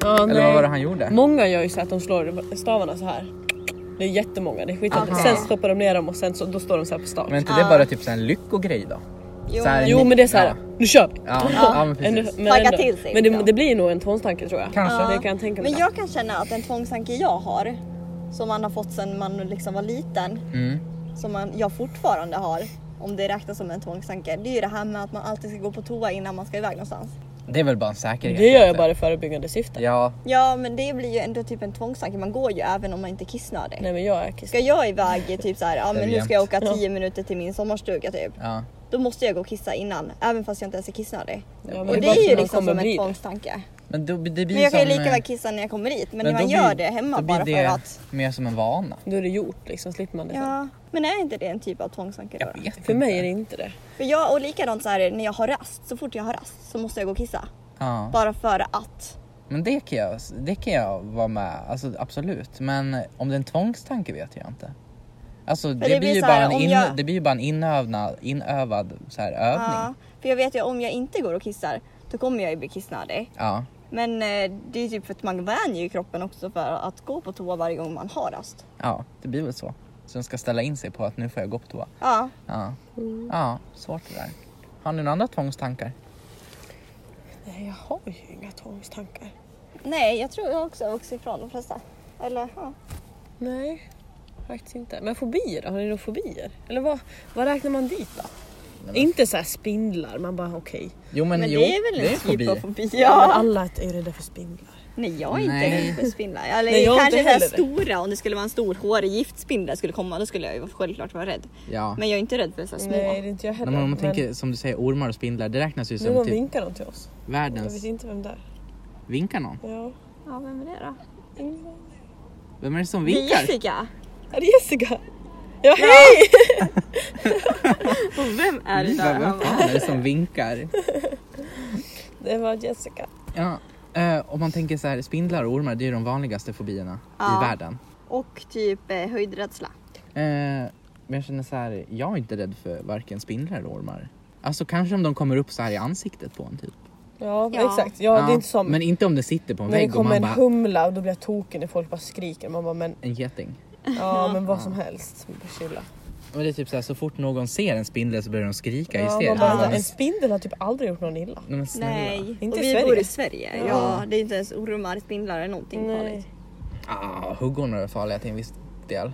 Speaker 4: Ja,
Speaker 3: Eller vad var det han gjorde?
Speaker 4: Många gör ju så att de slår stavarna så här. Det är jättemånga, det är skit.
Speaker 2: Aha.
Speaker 4: Sen stoppar de ner dem och sen så, då står de så här på stav.
Speaker 3: Men inte det bara typ så här en lyckogrej då?
Speaker 2: Jo,
Speaker 3: Så här-
Speaker 4: jo men det är så här,
Speaker 3: Ja.
Speaker 4: nu kör vi!
Speaker 3: Ja, ja. men
Speaker 4: Ändå-
Speaker 3: precis.
Speaker 4: men
Speaker 2: Tagga
Speaker 4: ändå.
Speaker 2: till sig,
Speaker 4: men det,
Speaker 2: liksom.
Speaker 4: det blir nog en tvångstanke tror jag.
Speaker 3: Kanske.
Speaker 4: Det kan jag tänka mig.
Speaker 2: Men jag kan känna att en tvångstanke jag har, som man har fått sedan man liksom var liten,
Speaker 3: Mm.
Speaker 2: som man, jag fortfarande har, om det räknas som en tvångstanke, det är ju det här med att man alltid ska gå på toa innan man ska iväg någonstans.
Speaker 3: Det är väl bara en säkerhet.
Speaker 4: det gör jag
Speaker 3: egentligen.
Speaker 4: bara i förebyggande syfte.
Speaker 3: Ja,
Speaker 2: Ja, men det blir ju ändå typ en tvångstanke. Man går ju även om man inte är kissnödig.
Speaker 4: Nej men jag är kiss.
Speaker 2: Ska jag iväg i typ så här, ja men nu ska jag åka
Speaker 4: Ja.
Speaker 2: 10 minuter till min sommarstuga typ.
Speaker 3: ja.
Speaker 2: Då måste jag gå och kissa innan, även fast jag inte ens är kissnödig.
Speaker 4: Ja, men
Speaker 2: och
Speaker 4: det
Speaker 2: det
Speaker 4: är bara
Speaker 2: är
Speaker 4: för
Speaker 2: ju
Speaker 4: man
Speaker 2: liksom
Speaker 4: kommer
Speaker 2: som
Speaker 4: bli
Speaker 2: en
Speaker 4: det.
Speaker 2: tvångstanke.
Speaker 3: Men då, det blir
Speaker 2: Men jag kan ju
Speaker 3: som,
Speaker 2: lika
Speaker 3: eh,
Speaker 2: väl kissa när jag kommer hit, men,
Speaker 3: men
Speaker 2: när
Speaker 3: då
Speaker 2: man gör
Speaker 3: blir-
Speaker 2: det hemma
Speaker 3: då blir
Speaker 2: bara för
Speaker 3: det
Speaker 2: att
Speaker 3: Mer som en vana.
Speaker 4: Då är det gjort liksom, slipper man det sen.
Speaker 2: Ja, men är inte det en typ av tvångstanke då?
Speaker 3: Jag vet
Speaker 4: För mig är
Speaker 3: inte.
Speaker 4: det inte det.
Speaker 2: För jag, och likadant så här när jag har rast, så fort jag har rast så måste jag gå och kissa.
Speaker 3: Ja.
Speaker 2: Bara för att.
Speaker 3: Men det kan, jag, det kan jag vara med, alltså absolut. Men om det är en tvångstanke vet jag inte. Alltså det,
Speaker 2: det
Speaker 3: blir
Speaker 2: blir
Speaker 3: ju
Speaker 2: så här,
Speaker 3: bara en
Speaker 2: om
Speaker 3: in,
Speaker 2: jag-
Speaker 3: det blir ju bara en inövna, inövad så här,
Speaker 2: Ja,
Speaker 3: övning.
Speaker 2: för jag vet ju om jag inte går och kissar, då kommer jag ju bli kissnödig.
Speaker 3: Ja.
Speaker 2: Men eh, det är typ för att man vänjer ju kroppen också för att gå på toa varje gång man har rast.
Speaker 3: Ja, det blir väl så. Så den ska ställa in sig på att nu får jag gå på toa.
Speaker 2: Ja,
Speaker 3: Ja,
Speaker 4: Mm.
Speaker 3: ja svårt det där. Har ni några andra tvångstankar?
Speaker 4: Nej jag har ju inga tvångstankar.
Speaker 2: nej jag tror jag också har vuxit ifrån de flesta. Eller ja.
Speaker 4: Nej, faktiskt inte. Men fobier då? Har ni några fobier? Eller vad, vad räknar man dit då? Inte så här spindlar, man bara okej.
Speaker 3: Jo men,
Speaker 2: Men
Speaker 3: jo,
Speaker 2: det är väl
Speaker 3: det
Speaker 2: en
Speaker 3: är fobi.
Speaker 2: typ av fobi?
Speaker 4: Men
Speaker 2: Ja.
Speaker 4: Alla är ju rädda för spindlar.
Speaker 2: Nej jag är inte
Speaker 3: Nej.
Speaker 2: rädd för spindlar. Eller
Speaker 4: Nej, jag är inte
Speaker 2: kanske så här
Speaker 4: heller det.
Speaker 2: stora, om det skulle vara en stor hårig giftspindel skulle komma då skulle jag ju självklart vara rädd.
Speaker 3: Ja.
Speaker 2: Men jag är inte rädd för så här små.
Speaker 4: Nej, det är inte jag heller.
Speaker 3: Nej, men om man tänker som du säger ormar och spindlar, det räknas ju
Speaker 4: nu någon
Speaker 3: som typ
Speaker 4: vinkar de till oss. Jag vet
Speaker 3: världens...
Speaker 4: inte vem det är.
Speaker 3: Vinkar någon?
Speaker 4: Ja.
Speaker 2: Ja, vem är det då?
Speaker 4: ingen-
Speaker 3: Vem är det som
Speaker 2: Det är
Speaker 3: vinkar?
Speaker 2: Jessica.
Speaker 4: Är det Jessica? Ja, hej!
Speaker 5: Och vem är det
Speaker 3: Vad
Speaker 5: där?
Speaker 3: vad fan är det som vinkar?
Speaker 4: Det var Jessica.
Speaker 3: Ja, eh, om man tänker så här, spindlar och ormar det är ju de vanligaste fobierna
Speaker 2: Ja.
Speaker 3: i världen.
Speaker 2: Och typ eh, höjdrädsla.
Speaker 3: Eh, men jag känner så här, jag är inte rädd för varken spindlar eller ormar. Alltså kanske om de kommer upp så här i ansiktet på en typ.
Speaker 4: Ja,
Speaker 2: Ja.
Speaker 4: exakt. Ja, det är inte som
Speaker 3: Men inte om det sitter på en
Speaker 4: när det
Speaker 3: vägg och
Speaker 4: kommer
Speaker 3: man
Speaker 4: en
Speaker 3: bara,
Speaker 4: humla och då blir jag token när folk bara skriker. Man bara men,
Speaker 3: en geting.
Speaker 4: ja, men vad som helst. Man bara, Chilla.
Speaker 3: Men det är typ så här, så fort någon ser en spindel så börjar de skrika
Speaker 4: Ja, man
Speaker 3: hysteriskt.
Speaker 4: bara,
Speaker 3: Men-
Speaker 4: En spindel har typ aldrig gjort någon illa.
Speaker 3: Nej, men snälla.
Speaker 2: Nej,
Speaker 4: Inte
Speaker 2: och
Speaker 4: i
Speaker 2: vi
Speaker 4: Sverige.
Speaker 2: bor i Sverige. Ja.
Speaker 4: Ja.
Speaker 2: det är inte ens ormar, spindlar eller någonting
Speaker 4: Nej.
Speaker 2: farligt.
Speaker 3: Ah, huggorna är farliga till en viss del.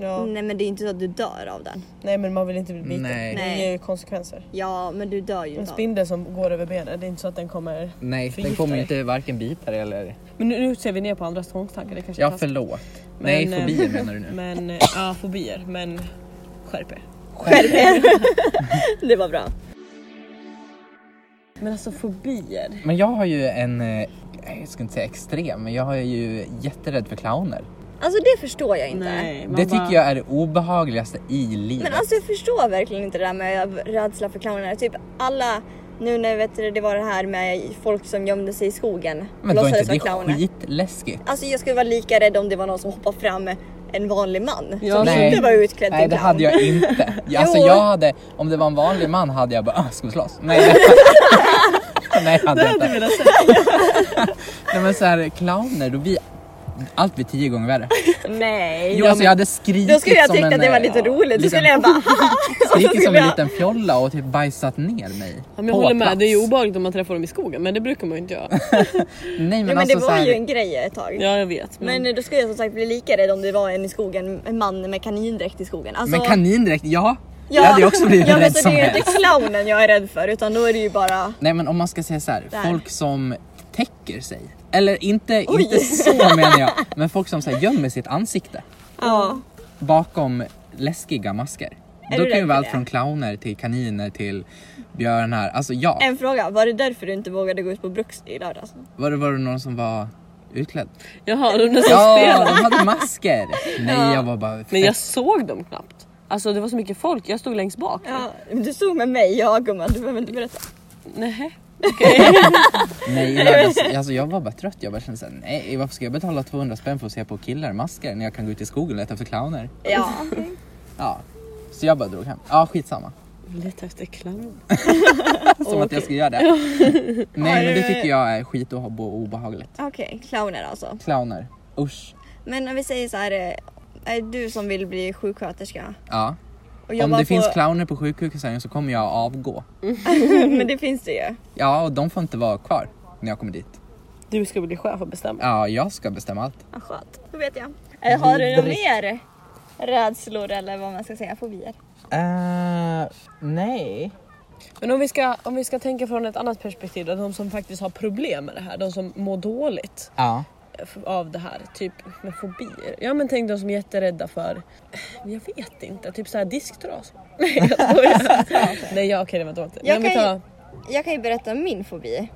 Speaker 4: Ja.
Speaker 2: Nej men det är inte så att du dör av den.
Speaker 4: Nej men man vill inte bli biten.
Speaker 3: Nej.
Speaker 4: Det ger ju konsekvenser.
Speaker 2: Ja men du dör ju
Speaker 4: En
Speaker 2: inte av
Speaker 4: spindel som går över benen, det är inte så att den kommer...
Speaker 3: Nej, den
Speaker 4: Förgiftar
Speaker 3: kommer ju
Speaker 4: dig.
Speaker 3: inte varken bita dig eller...
Speaker 4: Men nu, nu ser vi ner på andras tvångstankar, det kanske är
Speaker 3: Ja,
Speaker 4: taskigt.
Speaker 3: förlåt. Nej,
Speaker 4: Men, eh,
Speaker 3: fobier menar du nu.
Speaker 4: Men, eh, ja fobier. Men skärp er.
Speaker 2: Det var bra.
Speaker 4: Men alltså fobier.
Speaker 3: Men jag har ju en, eh, jag ska inte säga extrem, men jag är ju jätterädd för clowner.
Speaker 2: Alltså det förstår jag inte.
Speaker 4: man
Speaker 3: det tycker
Speaker 4: bara-
Speaker 3: jag är det obehagligaste i livet.
Speaker 2: Men alltså jag förstår verkligen inte det där med rädsla för clowner. Typ alla, nu när vet du, det var det här med folk som gömde sig i skogen
Speaker 3: Men då är
Speaker 2: låtsades
Speaker 3: inte
Speaker 2: vara
Speaker 3: det
Speaker 2: clowner.
Speaker 3: skitläskigt?
Speaker 2: Alltså jag skulle vara lika rädd om det var någon som hoppade fram en vanlig man
Speaker 4: Ja,
Speaker 2: som
Speaker 4: nej.
Speaker 2: inte var utklädd
Speaker 3: Nej
Speaker 2: till
Speaker 3: det
Speaker 2: clown.
Speaker 3: hade jag inte. Jag- Alltså
Speaker 2: Jo.
Speaker 3: jag hade, om det var en vanlig man hade jag bara "Ah, ska vi slåss? Nej det Nej, hade jag inte.
Speaker 4: velat
Speaker 3: Nej men såhär clowner, då blir allt blir tio gånger värre.
Speaker 2: Nej.
Speaker 3: Jo alltså jag hade skrikit
Speaker 2: Då skulle jag
Speaker 3: som
Speaker 2: tyckt
Speaker 3: en,
Speaker 2: att det var
Speaker 3: eh,
Speaker 2: lite roligt. Då
Speaker 3: liten-
Speaker 2: skulle jag bara
Speaker 3: Skrikit som
Speaker 2: skulle
Speaker 3: en
Speaker 2: Alltså, jag-
Speaker 3: liten fjolla och typ bajsat ner mig.
Speaker 4: Ja, men jag
Speaker 3: på
Speaker 4: håller med,
Speaker 3: plats.
Speaker 4: det är ju obehagligt om man träffar dem i skogen men det brukar man ju inte göra.
Speaker 3: Nej
Speaker 2: Ja,
Speaker 3: men,
Speaker 2: men
Speaker 3: alltså
Speaker 2: det
Speaker 3: så
Speaker 2: var
Speaker 3: här,
Speaker 2: ju en grej ett tag.
Speaker 4: Ja jag vet. Men,
Speaker 2: Men då skulle jag som sagt bli lika rädd om det var en i skogen, en man med kanindräkt i skogen. Alltså,
Speaker 3: Men kanindräkt, ja. Jag hade ju också blivit
Speaker 2: ja, men
Speaker 3: rädd
Speaker 2: så
Speaker 3: som
Speaker 2: Det är ju
Speaker 3: helst.
Speaker 2: inte clownen jag är rädd för utan då är det ju bara
Speaker 3: Nej men om man ska säga så här,
Speaker 2: Där.
Speaker 3: folk som täcker sig. Eller inte,
Speaker 2: Oj.
Speaker 3: inte så menar jag, men folk som så här, gömmer sitt ansikte
Speaker 2: ja.
Speaker 3: bakom läskiga masker.
Speaker 2: Är
Speaker 3: Då
Speaker 2: du rädd
Speaker 3: kan ju vara
Speaker 2: för
Speaker 3: allt
Speaker 2: det?
Speaker 3: från clowner till kaniner till björnar. Alltså ja,
Speaker 2: En fråga, var det därför du inte vågade gå ut på Bruks i lördags?
Speaker 3: var det, var det någon som var utklädd?
Speaker 4: Jaha, de där som
Speaker 3: Ja,
Speaker 4: spelar.
Speaker 3: de hade masker! Nej jag var bara
Speaker 4: Men jag såg dem knappt. Alltså det var så mycket folk, jag stod längst bak.
Speaker 2: Ja, men du stod med mig, ja gumman du behöver inte berätta.
Speaker 4: Nej.
Speaker 3: Nej, i lördags, alltså jag var bara trött. Jag bara kände såhär, nej varför ska jag betala 200 spänn för att se på killar i masker när jag kan gå ut i skogen och leta efter clowner?
Speaker 2: Ja.
Speaker 3: Ja. Så jag bara drog hem. Ja, skitsamma.
Speaker 4: Leta efter clown.
Speaker 3: Som att jag skulle göra det. Nej, men det tycker jag är skit och obe- obehagligt.
Speaker 2: Okej, clowner alltså.
Speaker 3: Clowner. Usch.
Speaker 2: Men om vi säger så här, eh, är du som vill bli sjuksköterska
Speaker 3: Ja.
Speaker 2: och
Speaker 3: Om det
Speaker 2: på...
Speaker 3: finns clowner på sjukhusen så kommer jag avgå.
Speaker 2: men det finns det ju.
Speaker 3: Ja, och de får inte vara kvar när jag kommer dit.
Speaker 4: Du ska bli chef och bestämma.
Speaker 3: Ja, jag ska bestämma allt.
Speaker 2: Ja, skönt, då vet jag. Eh, Har du några
Speaker 3: Vidrigt.
Speaker 2: mer rädslor eller vad man ska säga, fobier?
Speaker 3: Eh, nej.
Speaker 4: Men om vi, ska, om vi ska tänka från ett annat perspektiv då, de som faktiskt har problem med det här, de som mår dåligt
Speaker 3: Ja.
Speaker 4: f- av det här, typ med fobier. Ja men tänk de som är jätterädda för, jag vet inte, typ såhär disktras. Nej jag skojar. Nej ja, okej det var dåligt. Men
Speaker 2: Jag
Speaker 4: om vi
Speaker 2: kan ju-
Speaker 4: tar-
Speaker 2: Jag kan ju berätta om min fobi.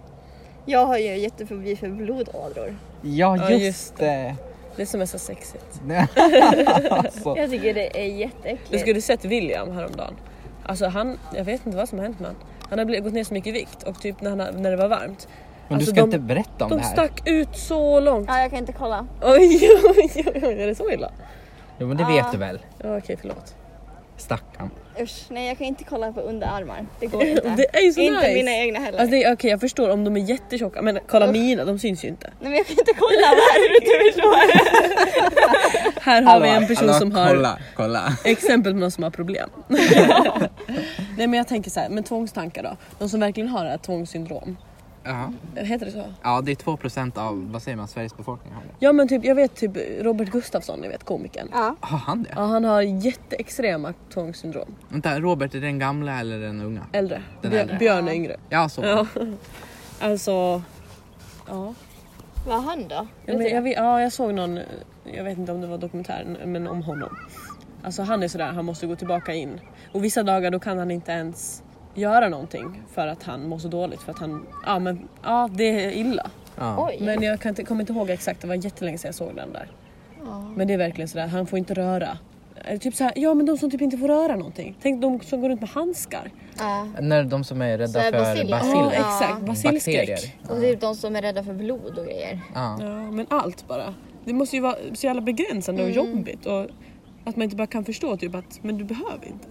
Speaker 2: Jag har ju jättefobi för blodådror.
Speaker 3: Ja, just,
Speaker 4: just
Speaker 3: det.
Speaker 4: Det som är så sexigt.
Speaker 3: alltså.
Speaker 2: Jag tycker det är
Speaker 4: Du
Speaker 2: jätteäckligt.
Speaker 4: skulle sett William häromdagen. Alltså han, jag vet inte vad som har hänt med han. Han har blivit- gått ner så mycket i vikt och typ när, han, har- när det var varmt.
Speaker 3: Men du
Speaker 4: Alltså,
Speaker 3: ska
Speaker 4: de-
Speaker 3: inte berätta om
Speaker 4: De
Speaker 3: det här.
Speaker 4: stack ut så långt.
Speaker 2: Ja, jag kan inte kolla.
Speaker 4: Oj oj oj, oj, är det så illa?
Speaker 3: Jo, men det vet du väl.
Speaker 4: Ja, Okej förlåt.
Speaker 3: Stackarn.
Speaker 2: Usch, nej jag kan inte kolla på underarmar. Det går inte.
Speaker 4: Det är ju så
Speaker 2: inte
Speaker 4: nice.
Speaker 2: mina egna heller.
Speaker 4: Alltså, det är- Okej jag förstår om de är jättetjocka men kolla mina, de syns ju inte.
Speaker 2: Nej men jag kan inte kolla, vad är det du förstår?
Speaker 4: Här har vi en person som har
Speaker 3: Kolla, kolla.
Speaker 4: exempel på någon som har problem. Nej men jag tänker så här, men tvångstankar då? De som verkligen har det här tvångssyndrom.
Speaker 3: Ja.
Speaker 4: Heter det så?
Speaker 3: ja, det är 2% av, vad säger man, Sveriges befolkning har det.
Speaker 4: Ja men typ, jag vet typ Robert Gustafsson, ni vet komikern.
Speaker 2: Ja.
Speaker 3: Har han det?
Speaker 4: Ja, han har jätteextrema tvångssyndrom.
Speaker 3: Vänta, Robert, är det den gamla eller den unga?
Speaker 4: Äldre.
Speaker 3: Den
Speaker 4: Björ-
Speaker 3: äldre.
Speaker 4: Björn är yngre.
Speaker 3: Ja, så.
Speaker 4: Ja. Alltså... Ja.
Speaker 2: Vad har han då?
Speaker 4: Ja, men jag, vet- ja, jag såg någon, jag vet inte om det var dokumentären, men om honom. Alltså han är sådär, han måste gå tillbaka in. Och vissa dagar då kan han inte ens göra någonting för att han mår så dåligt. För att han, ja men ja det är illa.
Speaker 3: Ja.
Speaker 2: Oj.
Speaker 4: Men jag kan inte, kommer inte ihåg exakt, det var jättelänge sedan jag såg den där. Men det är verkligen sådär, han får inte röra Eller typ så här, ja men de som typ inte får röra någonting. Tänk de som går runt med handskar.
Speaker 2: Ja.
Speaker 3: När de som är
Speaker 2: Så
Speaker 3: rädda
Speaker 2: här,
Speaker 3: för
Speaker 2: baciller.
Speaker 4: Ja,
Speaker 2: Basiller.
Speaker 3: baciller.
Speaker 4: exakt. Basilskräck.
Speaker 3: Bakterier.
Speaker 2: Och typ de som är rädda för blod och grejer.
Speaker 3: Ja.
Speaker 4: Ja, men allt bara. Det måste ju vara så jävla begränsande och jobbigt. Och att man inte bara kan förstå typ att men du behöver inte.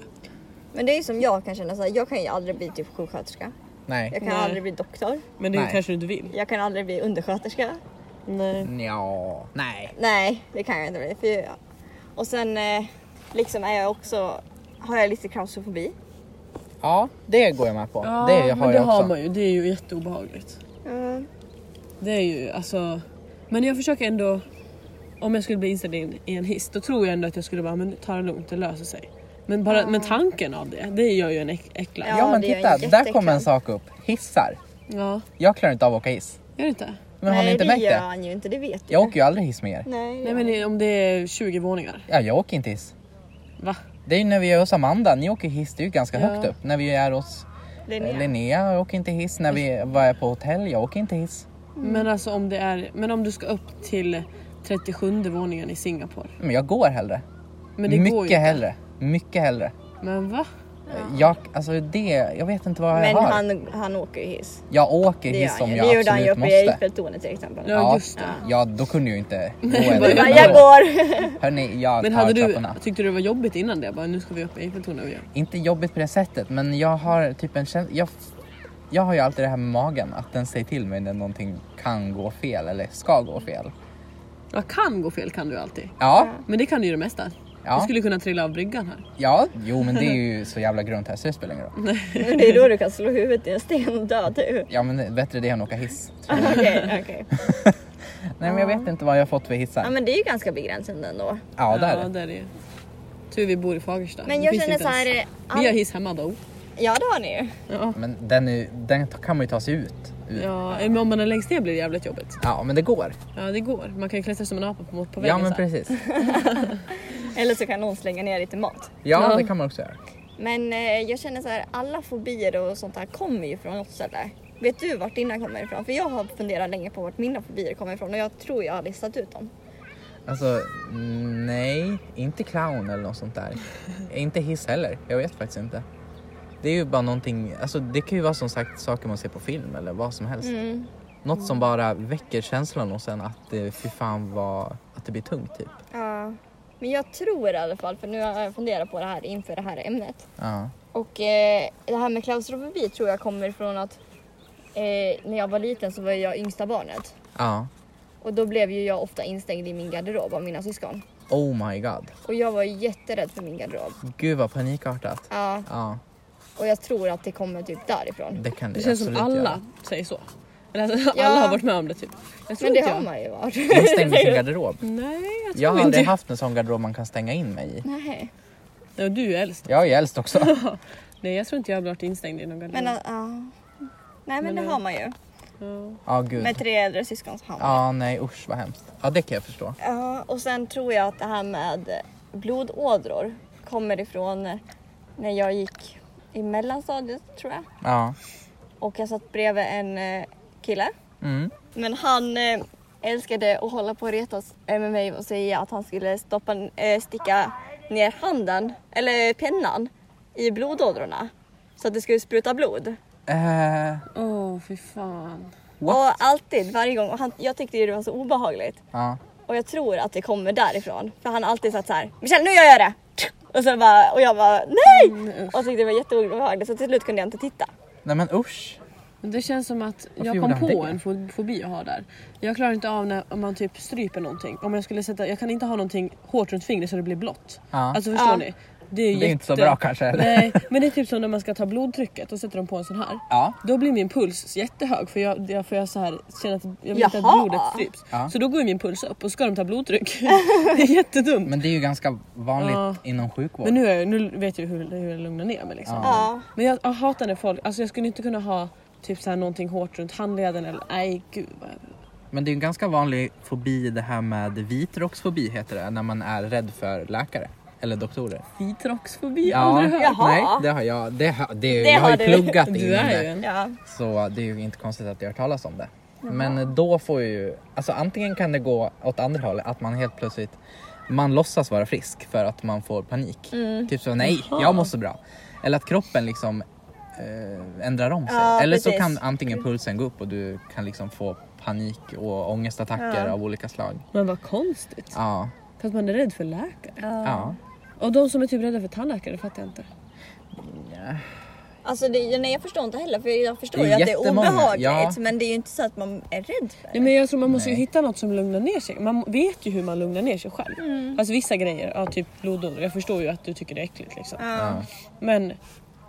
Speaker 2: Men det är ju som jag kan känna så här, jag kan ju aldrig bli typ sjuksköterska. Jag
Speaker 3: Nej.
Speaker 2: kan
Speaker 4: Nej.
Speaker 2: aldrig bli doktor.
Speaker 4: Men det
Speaker 3: Nej.
Speaker 4: kanske du inte vill.
Speaker 2: Jag kan aldrig bli undersköterska.
Speaker 4: Nej.
Speaker 3: Ja. Nej.
Speaker 2: Nej, det kan jag inte bli. För jag... Och sen eh, liksom är jag också, har jag lite klaustrofobi.
Speaker 3: Ja, det går jag med på.
Speaker 4: Ja,
Speaker 3: det
Speaker 4: men
Speaker 3: har
Speaker 4: det
Speaker 3: jag
Speaker 4: har
Speaker 3: också.
Speaker 4: man ju. Det är ju jätteobehagligt.
Speaker 2: Mm.
Speaker 4: Det är ju alltså... Men jag försöker ändå... Om jag skulle bli inställd i en, i en hiss då tror jag ändå att jag skulle bara men ta det lugnt, det löser sig. Men, bara, men tanken av det, det gör ju en äck, äcklad.
Speaker 2: Ja.
Speaker 4: Ja.
Speaker 3: Ja men
Speaker 2: det är
Speaker 3: titta, där
Speaker 2: jätteäckligt.
Speaker 3: kom en sak upp. Hissar. Jag klarar inte av att åka hiss.
Speaker 4: Gör det inte?
Speaker 3: Men har ni inte
Speaker 2: det
Speaker 3: märkt
Speaker 2: gör
Speaker 3: det?
Speaker 2: han ju inte, det vet du.
Speaker 3: Jag åker ju aldrig hiss med er.
Speaker 2: Nej,
Speaker 4: Nej men om det är 20 våningar.
Speaker 3: Ja, jag åker inte hiss.
Speaker 4: Va?
Speaker 3: Det är ju när vi är hos Amanda, ni åker hiss, det är ju ganska
Speaker 4: Ja.
Speaker 3: högt upp. När vi är hos
Speaker 2: Linnea.
Speaker 3: Linnea, Linnea jag åker inte hiss. När vi var jag på hotell, jag åker inte hiss.
Speaker 4: Men alltså om det är... Men om du ska upp till 37 våningen i Singapore.
Speaker 3: Men jag går hellre.
Speaker 4: Men det
Speaker 3: Mycket
Speaker 4: går ju inte.
Speaker 3: hellre. Mycket hellre.
Speaker 4: Men va?
Speaker 3: Jag, alltså det, jag vet inte vad jag
Speaker 2: Men
Speaker 3: har.
Speaker 2: han, han åker ju hiss.
Speaker 3: Jag åker
Speaker 2: Det,
Speaker 3: hiss
Speaker 2: gör han
Speaker 3: om
Speaker 2: ju.
Speaker 3: jag
Speaker 2: det gjorde han ju
Speaker 3: absolut
Speaker 2: uppe i
Speaker 3: måste.
Speaker 2: Eiffeltornet till exempel.
Speaker 4: Ja. just det.
Speaker 3: ja, då kunde jag ju inte gå
Speaker 4: bara,
Speaker 2: Ja,
Speaker 3: eller
Speaker 2: jag går!
Speaker 3: Hörni, jag
Speaker 4: Men
Speaker 3: tar
Speaker 4: hade du,
Speaker 3: trapporna.
Speaker 4: tyckte du det var jobbigt innan det? Bara, nu ska vi upp i Eiffeltornet och göra.
Speaker 3: Inte jobbigt på det sättet, men jag har typ en känsla... Jag, jag har ju alltid det här med magen, att den säger till mig när någonting kan gå fel eller ska gå fel.
Speaker 4: Ja, kan gå fel kan du alltid.
Speaker 3: Ja,
Speaker 4: Men det kan ju det mesta.
Speaker 3: Ja.
Speaker 4: Du skulle kunna trilla av bryggan här.
Speaker 3: ja, jo men det är ju så jävla grunt här så det spelar ingen roll.
Speaker 2: Men det är då du kan slå huvudet i en sten och dö du.
Speaker 3: Ja men det är bättre det än att åka hiss.
Speaker 2: Okej, okej.
Speaker 3: Nej men jag vet inte vad jag har fått för
Speaker 2: Ja
Speaker 3: hissar.
Speaker 2: men det är ju ganska begränsande ändå.
Speaker 3: Ja, där är
Speaker 4: Ja,
Speaker 3: det.
Speaker 4: där är det. Tur vi bor i Fagersta.
Speaker 2: Men
Speaker 4: Det
Speaker 2: jag
Speaker 4: finns
Speaker 2: känner
Speaker 4: inte
Speaker 2: så här...
Speaker 4: ens-
Speaker 2: eh,
Speaker 4: Vi har
Speaker 2: all-
Speaker 4: hiss hemma då.
Speaker 2: Ja det har ni ju.
Speaker 4: Ja.
Speaker 3: Men den, är, den kan man ju ta sig ut ur.
Speaker 4: Ja, men om man är längst ner blir det jävligt jobbigt.
Speaker 3: Ja men det går.
Speaker 4: Ja, det går. Man kan ju klättra som en apa på, på
Speaker 3: Ja
Speaker 4: väggen.
Speaker 3: men
Speaker 4: så här.
Speaker 3: precis.
Speaker 2: Eller så kan någon slänga ner lite mat.
Speaker 3: Ja
Speaker 4: Ja.
Speaker 3: det kan man också göra.
Speaker 2: Men eh, jag känner så här, alla fobier och sånt här kommer ju från något ställe. Vet du vart dina kommer ifrån? För jag har funderat länge på vart mina fobier kommer ifrån och jag tror jag har listat ut dem.
Speaker 3: Alltså nej, inte clown eller något sånt där. inte hiss heller, jag vet faktiskt inte. Det är ju bara någonting, alltså det kan ju vara som sagt saker man ser på film eller vad som helst. Något som bara väcker känslan och sen att det fy fan vad, att det blir tungt typ.
Speaker 2: Ja. Men jag tror i alla fall, för nu har jag funderat på det här inför det här ämnet.
Speaker 3: Ja.
Speaker 2: Och eh, det här med klaustrofobi tror jag kommer ifrån att eh, när jag var liten så var jag yngsta barnet.
Speaker 3: Ja.
Speaker 2: Och då blev ju jag ofta instängd i min garderob av mina syskon.
Speaker 3: Oh my god.
Speaker 2: Och jag var jätterädd för min garderob.
Speaker 3: Gud vad panikartat.
Speaker 2: Ja,
Speaker 3: Ja,
Speaker 2: och jag tror att det kommer typ därifrån.
Speaker 3: det kan det,
Speaker 4: Det känns som
Speaker 3: absolut
Speaker 4: alla
Speaker 3: göra.
Speaker 4: säger så. Eller alltså,
Speaker 2: Ja.
Speaker 4: alla har varit med om det typ. Jag tror
Speaker 2: Men det
Speaker 4: inte
Speaker 2: har
Speaker 4: jag. Mm.
Speaker 2: man ju varit.
Speaker 3: Man stänger sin garderob.
Speaker 4: Nej, jag tror
Speaker 3: Jag har
Speaker 4: inte
Speaker 3: aldrig
Speaker 4: jag.
Speaker 3: haft en sån garderob man kan stänga in mig i.
Speaker 2: Nej.
Speaker 4: Ja, du är ju äldst.
Speaker 3: Jag är ju äldst också.
Speaker 4: Nej, jag tror inte jag har blivit instängd i någon garderob.
Speaker 2: Men eh, ja. Nej men, det har man ju.
Speaker 4: Ja.
Speaker 3: Ja gud.
Speaker 2: Med tre äldre syskon så har man det.
Speaker 3: Ja nej usch vad hemskt. Ja det kan jag förstå.
Speaker 2: Ja, och sen tror jag att det här med blodådror kommer ifrån när jag gick i mellanstadiet tror jag.
Speaker 3: Ja.
Speaker 2: Och jag satt bredvid en eh, kille.
Speaker 3: Mm.
Speaker 2: Men han eh, älskade att hålla på och retas eh, med mig och säga att han skulle stoppa, eh, sticka ner handen, eller pennan, i blodådrorna. Så att det skulle spruta blod.
Speaker 3: Eh,
Speaker 4: Åh, fy fan.
Speaker 2: Och alltid, varje gång. Och han, jag tyckte ju det var så obehagligt.
Speaker 3: ja.
Speaker 2: Och jag tror att det kommer därifrån. För han har alltid sagt så här. Michelle nu gör jag det! Och, sen bara, och jag bara nej!
Speaker 3: Mm,
Speaker 2: och tyckte det var jätteobehagligt så till slut kunde jag inte titta.
Speaker 3: Nej men usch.
Speaker 4: Men det känns som att
Speaker 3: Varför
Speaker 4: jag kom
Speaker 3: gjorde han
Speaker 4: på
Speaker 3: det?
Speaker 4: en fo- fobi jag har där. Jag klarar inte av när om man typ stryper någonting. Om jag skulle sätta, jag kan inte ha någonting hårt runt fingret så det blir blått.
Speaker 3: Ja.
Speaker 4: Alltså förstår
Speaker 2: Ja.
Speaker 4: ni? Det är,
Speaker 3: Det är inte så
Speaker 4: jätte-
Speaker 3: bra kanske, eller?
Speaker 4: Nej, men det är typ som när man ska ta blodtrycket och sätter dem på en sån här.
Speaker 3: Ja.
Speaker 4: Då blir min puls jättehög för jag, jag får jag så här känner att jag vill inte att
Speaker 2: Jaha.
Speaker 4: blodet stryps.
Speaker 3: Ja.
Speaker 4: Så då går ju min puls upp och ska de ta blodtryck. det är jättedumt. Men,
Speaker 3: Men det är ju ganska vanligt
Speaker 4: Ja.
Speaker 3: inom sjukvård.
Speaker 4: nu, är, jag- nu vet jag hur, hur jag lugnar ner mig liksom.
Speaker 2: Ja.
Speaker 4: Men jag, jag hatar när folk, alltså jag skulle inte kunna ha typ så här någonting hårt runt handleden eller nej gud vad jag
Speaker 3: Men det är ju en ganska vanlig fobi det här med vitrocksfobi heter det. När man är rädd för läkare. Eller doktorer.
Speaker 4: Vitrocksfobi, ja. aldrig hört.
Speaker 2: Jaha.
Speaker 3: Nej det har jag. Det, har- det,
Speaker 2: Det
Speaker 3: jag har,
Speaker 2: har
Speaker 3: ju
Speaker 2: du.
Speaker 3: pluggat in
Speaker 4: Du är ju
Speaker 3: det.
Speaker 4: en.
Speaker 2: Ja.
Speaker 3: Så det är ju inte konstigt att jag har hört talas om det. Men då får ju, alltså antingen kan det gå åt andra hållet, att man helt plötsligt man låtsas vara frisk för att man får panik.
Speaker 2: Mm.
Speaker 3: Typ så, nej,
Speaker 4: Jaha.
Speaker 3: jag måste bra. Eller att kroppen liksom eh, ändrar om sig.
Speaker 2: Ja,
Speaker 3: Eller så
Speaker 2: precis.
Speaker 3: kan antingen pulsen gå upp och du kan liksom få panik och ångestattacker
Speaker 2: Ja.
Speaker 3: av olika slag.
Speaker 4: Men vad konstigt.
Speaker 3: Ja,
Speaker 4: För att man är rädd för läkare.
Speaker 3: ja.
Speaker 4: Och de som är typ rädda för tandläkare fattar jag inte.
Speaker 2: Alltså det, nej jag förstår inte heller för jag förstår
Speaker 3: Det är
Speaker 2: ju att det är
Speaker 3: jättemånga,
Speaker 2: obehagligt
Speaker 3: ja.
Speaker 2: men det är ju inte så att man är rädd för det.
Speaker 4: Nej, men jag tror man måste ju
Speaker 3: Nej.
Speaker 4: hitta något som lugnar ner sig. Man vet ju hur man lugnar ner sig själv.
Speaker 3: Mm.
Speaker 4: Alltså vissa grejer, ja, typ blodådror. Jag förstår ju att du tycker det är äckligt liksom.
Speaker 3: ja.
Speaker 4: Men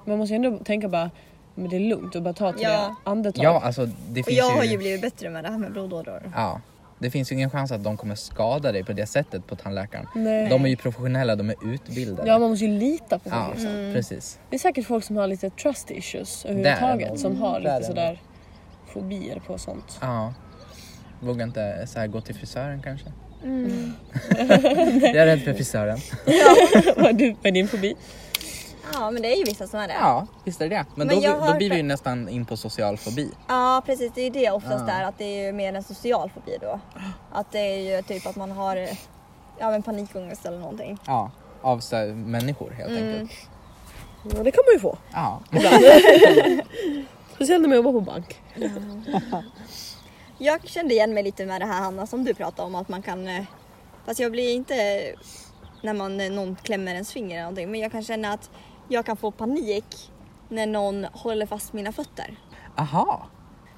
Speaker 4: man måste ju ändå tänka bara, men det är lugnt och bara ta tre
Speaker 2: Ja.
Speaker 4: andetag.
Speaker 3: ja alltså det
Speaker 2: Och
Speaker 3: finns
Speaker 2: jag har ju blivit bättre med det här med blodådror.
Speaker 3: Ja. Det finns ju ingen chans att de kommer skada dig på det sättet på tandläkaren.
Speaker 4: Nej.
Speaker 3: De är ju professionella, de är utbildade.
Speaker 4: Ja man måste ju lita på folk.
Speaker 3: Ja,
Speaker 4: Liksom.
Speaker 3: precis.
Speaker 4: Det är säkert folk som har lite trust issues
Speaker 3: Där är
Speaker 4: överhuvudtaget. Som
Speaker 3: de.
Speaker 4: har
Speaker 3: Där är
Speaker 4: lite
Speaker 3: de.
Speaker 4: sådär fobier på sånt.
Speaker 3: Ja. Vågar inte så här gå till frisören kanske. jag är rädd för frisören.
Speaker 4: Vad är du med din fobi?
Speaker 2: Ja men det är ju vissa som är det.
Speaker 3: Ja, visst är det det. Men,
Speaker 2: Men
Speaker 3: då,
Speaker 2: jag har
Speaker 3: då
Speaker 2: hört
Speaker 3: blir vi ju
Speaker 2: det.
Speaker 3: nästan in på social fobi.
Speaker 2: Ja precis, det är ju det oftast
Speaker 3: Ja.
Speaker 2: är att det är ju mer en social fobi då. Att det är ju typ att man har eh, ja, men panikångest eller någonting.
Speaker 3: Ja. Av så här, människor helt enkelt.
Speaker 4: Ja det kan man ju få.
Speaker 3: Ja.
Speaker 4: Speciellt när man jobbar på bank.
Speaker 2: Jag kände igen mig lite med det här Hanna som du pratade om att man kan eh, Fast jag blir inte eh, när man eh, någon klämmer ens finger eller någonting men jag kan känna att jag kan få panik när någon håller fast mina fötter.
Speaker 3: Aha.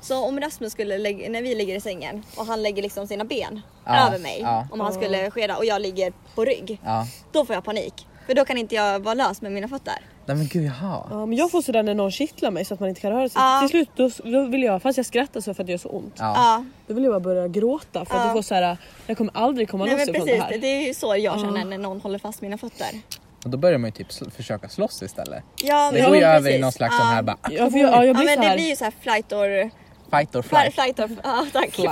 Speaker 2: Så om Rasmus skulle lägga, när vi ligger i sängen och han lägger liksom sina ben
Speaker 3: Ja,
Speaker 2: över mig
Speaker 3: ja.
Speaker 2: om han skulle skeda och jag ligger på rygg.
Speaker 3: Ja.
Speaker 2: Då får jag panik. För då kan inte jag vara lös med mina fötter.
Speaker 3: Nej men gud jaha.
Speaker 4: Ja, men jag får sådär när någon kittlar mig så att man inte kan röra sig.
Speaker 2: Ja.
Speaker 4: Till slut då, då vill jag, fast jag skrattar så för att det gör så ont.
Speaker 3: Ja.
Speaker 2: Ja,
Speaker 4: Då vill jag bara börja gråta för att
Speaker 2: Ja.
Speaker 4: jag får såhär, jag kommer aldrig komma
Speaker 2: Nej,
Speaker 4: loss
Speaker 2: men
Speaker 4: ifrån det
Speaker 2: precis.
Speaker 4: här.
Speaker 2: Det, det är ju så jag känner när någon håller fast mina fötter.
Speaker 3: Och då börjar man ju typ sl- försöka slåss istället.
Speaker 2: Ja,
Speaker 3: Det
Speaker 2: men
Speaker 3: går ju
Speaker 2: precis.
Speaker 3: över i någon slags sån här bara
Speaker 4: Ja, för jag, ja, jag
Speaker 2: Ja
Speaker 4: blir
Speaker 2: men det
Speaker 4: såhär,
Speaker 2: blir ju så här flight or...
Speaker 3: fight or
Speaker 2: Flight,
Speaker 3: flight.
Speaker 2: flight or... Ja tack.
Speaker 4: fly,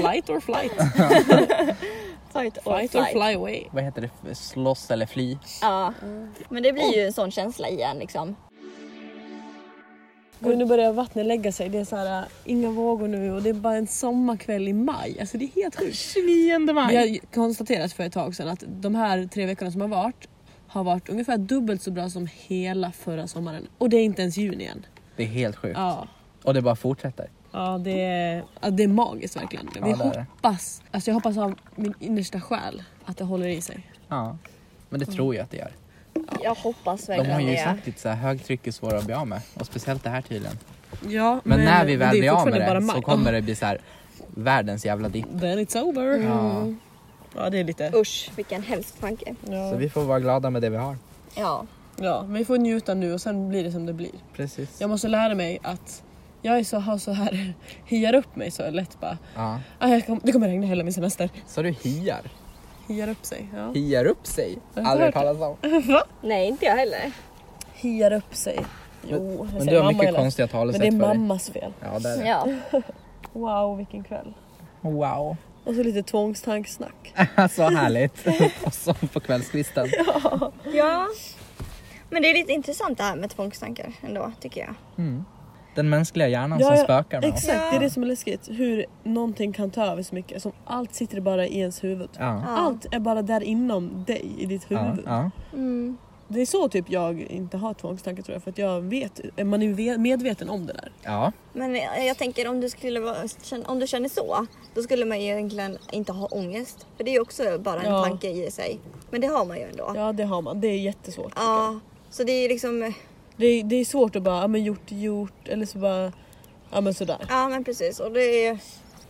Speaker 4: flight or flight.
Speaker 2: Fight or
Speaker 4: Fight or fly away.
Speaker 3: Vad heter det? Slåss eller fly?
Speaker 2: Ja. Men det blir ju en sån känsla igen liksom.
Speaker 4: Och nu börjar vattnet lägga sig. Det är så här, äh, inga vågor nu och det är bara en sommarkväll i maj. Alltså det är helt sjukt.
Speaker 3: 29
Speaker 4: Vi har ju konstaterat för ett tag sedan att de här tre veckorna som har varit har varit ungefär dubbelt så bra som hela förra sommaren. Och det är inte ens juni än.
Speaker 3: Det är helt sjukt.
Speaker 4: Ja.
Speaker 3: Och det bara fortsätter.
Speaker 4: Ja det, är, ja, det är magiskt verkligen.
Speaker 3: Ja,
Speaker 4: Vi
Speaker 3: det är det.
Speaker 4: hoppas, alltså jag hoppas av min innersta själ att det håller i sig.
Speaker 3: Ja. Men det tror jag att det gör.
Speaker 2: Jag hoppas
Speaker 3: De har
Speaker 2: verkligen
Speaker 3: ju
Speaker 2: det.
Speaker 3: sagt lite så här, högtryck är svåra att bli av med. Och speciellt det här tydligen.
Speaker 4: Ja,
Speaker 3: Men, när vi väl
Speaker 4: det är
Speaker 3: blir av
Speaker 4: fortfarande
Speaker 3: med det
Speaker 4: bara
Speaker 3: så
Speaker 4: maj.
Speaker 3: kommer det bli så här världens jävla dipp.
Speaker 4: Oh, Then it's over.
Speaker 3: Ja.
Speaker 4: Mm. Ja det är lite...
Speaker 2: Usch vilken hemsk tanke.
Speaker 3: Så
Speaker 4: Ja.
Speaker 3: vi får vara glada med det vi har.
Speaker 2: Ja.
Speaker 4: ja, men vi får njuta nu och sen blir det som det blir.
Speaker 3: Precis.
Speaker 4: Jag måste lära mig att jag är så, har så här, hiar upp mig så lätt bara.
Speaker 3: Ja.
Speaker 4: Ah, jag kom, det kommer regna hela min semester.
Speaker 3: Så du hiar?
Speaker 4: Hiar upp sig. Ja.
Speaker 3: Hiar upp sig?
Speaker 4: Jag har
Speaker 3: Aldrig hört
Speaker 4: hört
Speaker 3: talas om.
Speaker 2: Nej inte jag heller.
Speaker 4: Hiar upp sig. Jo,
Speaker 3: Men
Speaker 4: det säger
Speaker 3: du har
Speaker 4: mamma
Speaker 3: mycket
Speaker 4: hela-
Speaker 3: konstiga talesätt
Speaker 4: Men det är
Speaker 3: för dig.
Speaker 4: mammas fel.
Speaker 3: Ja, det är det.
Speaker 2: Ja.
Speaker 4: Wow vilken kväll.
Speaker 3: Wow.
Speaker 4: Och så lite tvångstanksnack.
Speaker 3: så härligt. Och så på kvällskvisten.
Speaker 2: Ja. Men det är lite intressant det här med tvångstankar ändå tycker jag.
Speaker 3: Mm. Den mänskliga hjärnan
Speaker 4: Ja,
Speaker 3: som
Speaker 4: ja,
Speaker 3: spökar med oss.
Speaker 4: Exakt, det är det som är läskigt. Hur någonting kan ta över så mycket. Som allt sitter bara i ens huvud.
Speaker 3: Ja.
Speaker 4: Allt är bara där inom dig, i ditt
Speaker 3: Ja,
Speaker 4: huvud.
Speaker 3: ja.
Speaker 2: Mm.
Speaker 4: Det är så typ jag inte har tvångstankar tror jag. För att jag vet, man är ju ve- medveten om det där.
Speaker 3: ja.
Speaker 2: Men jag jag tänker om du, skulle vara, känn- om du känner så, då skulle man ju egentligen inte ha ångest. För det är ju också bara en
Speaker 4: Ja.
Speaker 2: tanke i sig. Men det har man ju ändå. Ja.
Speaker 4: Ja det har man, det är jättesvårt.
Speaker 2: så det är ju liksom,
Speaker 4: Det är, det är svårt att bara, ja men gjort är gjort eller så bara, ja men sådär.
Speaker 2: ja men precis. Och det är,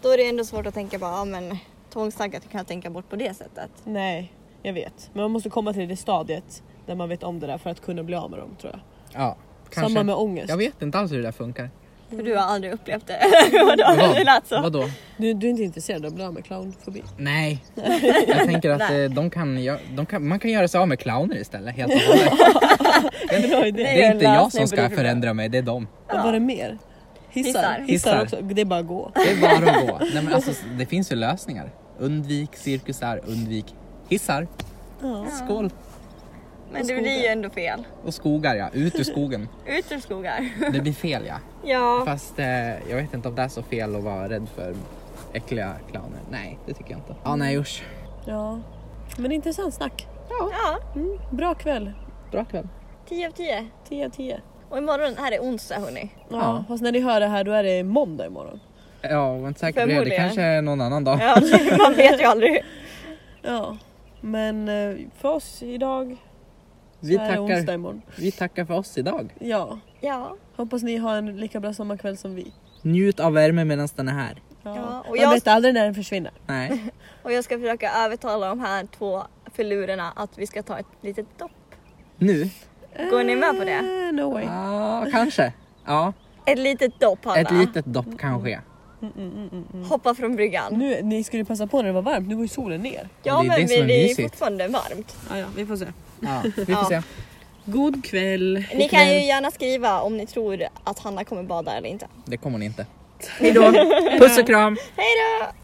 Speaker 2: då är det ändå svårt att tänka bara, ja men tvångstankar kan jag tänka bort på det sättet.
Speaker 4: Nej, jag vet. Men man måste komma till det stadiet där man vet om det där för att kunna bli av med dem tror jag.
Speaker 3: ja. Kanske.
Speaker 4: Samma med ångest.
Speaker 3: Jag vet inte alls hur det där funkar.
Speaker 2: För du har aldrig upplevt det. Vadå? Det lät så.
Speaker 3: Vadå?
Speaker 4: Du, du är inte intresserad av att bli av med clownfobi?
Speaker 3: Nej, jag tänker att eh, de kan, gö- de kan, man kan göra sig av med clowner istället helt och hållet.
Speaker 4: Bra idé.
Speaker 3: Det är inte
Speaker 2: en
Speaker 3: jag
Speaker 2: lösning på det
Speaker 3: som ska
Speaker 2: problemet.
Speaker 3: förändra mig, det är de.
Speaker 4: Och vad är det mer? Hissar.
Speaker 2: Hissar.
Speaker 3: Hissar.
Speaker 4: Hissar. också. Det är bara att gå.
Speaker 3: Det är bara att gå. Nej, men alltså, det finns ju lösningar. Undvik cirkusar, undvik hissar. Skål!
Speaker 2: Men det blir ju ändå fel.
Speaker 3: Och skogar ja, ut ur skogen.
Speaker 2: Ut ur skogar.
Speaker 3: Det blir fel ja.
Speaker 2: Ja.
Speaker 3: Fast eh, jag vet inte om det är så fel att vara rädd för äckliga clowner. Nej, det tycker jag inte. Ja, nej usch.
Speaker 4: Ja. Men intressant snack.
Speaker 2: Ja,
Speaker 4: Mm, bra kväll.
Speaker 3: Bra kväll.
Speaker 2: 10 av 10.
Speaker 4: 10 av 10.
Speaker 2: Och imorgon, här är onsdag hörni.
Speaker 4: Ja, Fast när ni hör det här då är det måndag imorgon.
Speaker 3: Ja, var inte säker på det. Det
Speaker 2: Förmodligen.
Speaker 3: kanske är någon annan dag.
Speaker 2: Ja, man vet ju aldrig.
Speaker 4: Ja. Men eh, för oss idag så
Speaker 3: Vi
Speaker 4: är det onsdag
Speaker 3: tackar,
Speaker 4: imorgon.
Speaker 3: vi tackar för oss idag.
Speaker 4: Ja.
Speaker 2: Ja,
Speaker 4: Hoppas ni har en lika bra sommarkväll som vi.
Speaker 3: Njut av värmen medan den är här.
Speaker 2: Ja, och
Speaker 4: Man
Speaker 2: jag-
Speaker 4: vet aldrig när den försvinner.
Speaker 3: Nej.
Speaker 2: och jag ska försöka övertala de här två förlurarna att vi ska ta ett litet dopp.
Speaker 3: Nu?
Speaker 2: Går ni med på
Speaker 3: Mm.
Speaker 2: det?
Speaker 4: Eh, no way.
Speaker 3: Ja, kanske. Ja,
Speaker 2: Ett litet dopp Hanna.
Speaker 3: ett litet dopp kanske.
Speaker 2: Hoppa från bryggan.
Speaker 4: Nu, ni skulle ju passa på när det var varmt, nu går ju solen ner.
Speaker 2: Ja
Speaker 3: det är
Speaker 2: men
Speaker 3: det som är
Speaker 2: vi- det är
Speaker 3: mysigt.
Speaker 2: fortfarande varmt.
Speaker 4: Ja, ja, vi får se.
Speaker 3: Ja, vi får se.
Speaker 4: God kväll.
Speaker 2: Ni kan ju gärna skriva om ni tror att Hanna kommer bada eller inte.
Speaker 3: Det kommer ni inte. Hejdå. Puss och kram.
Speaker 2: Hej då!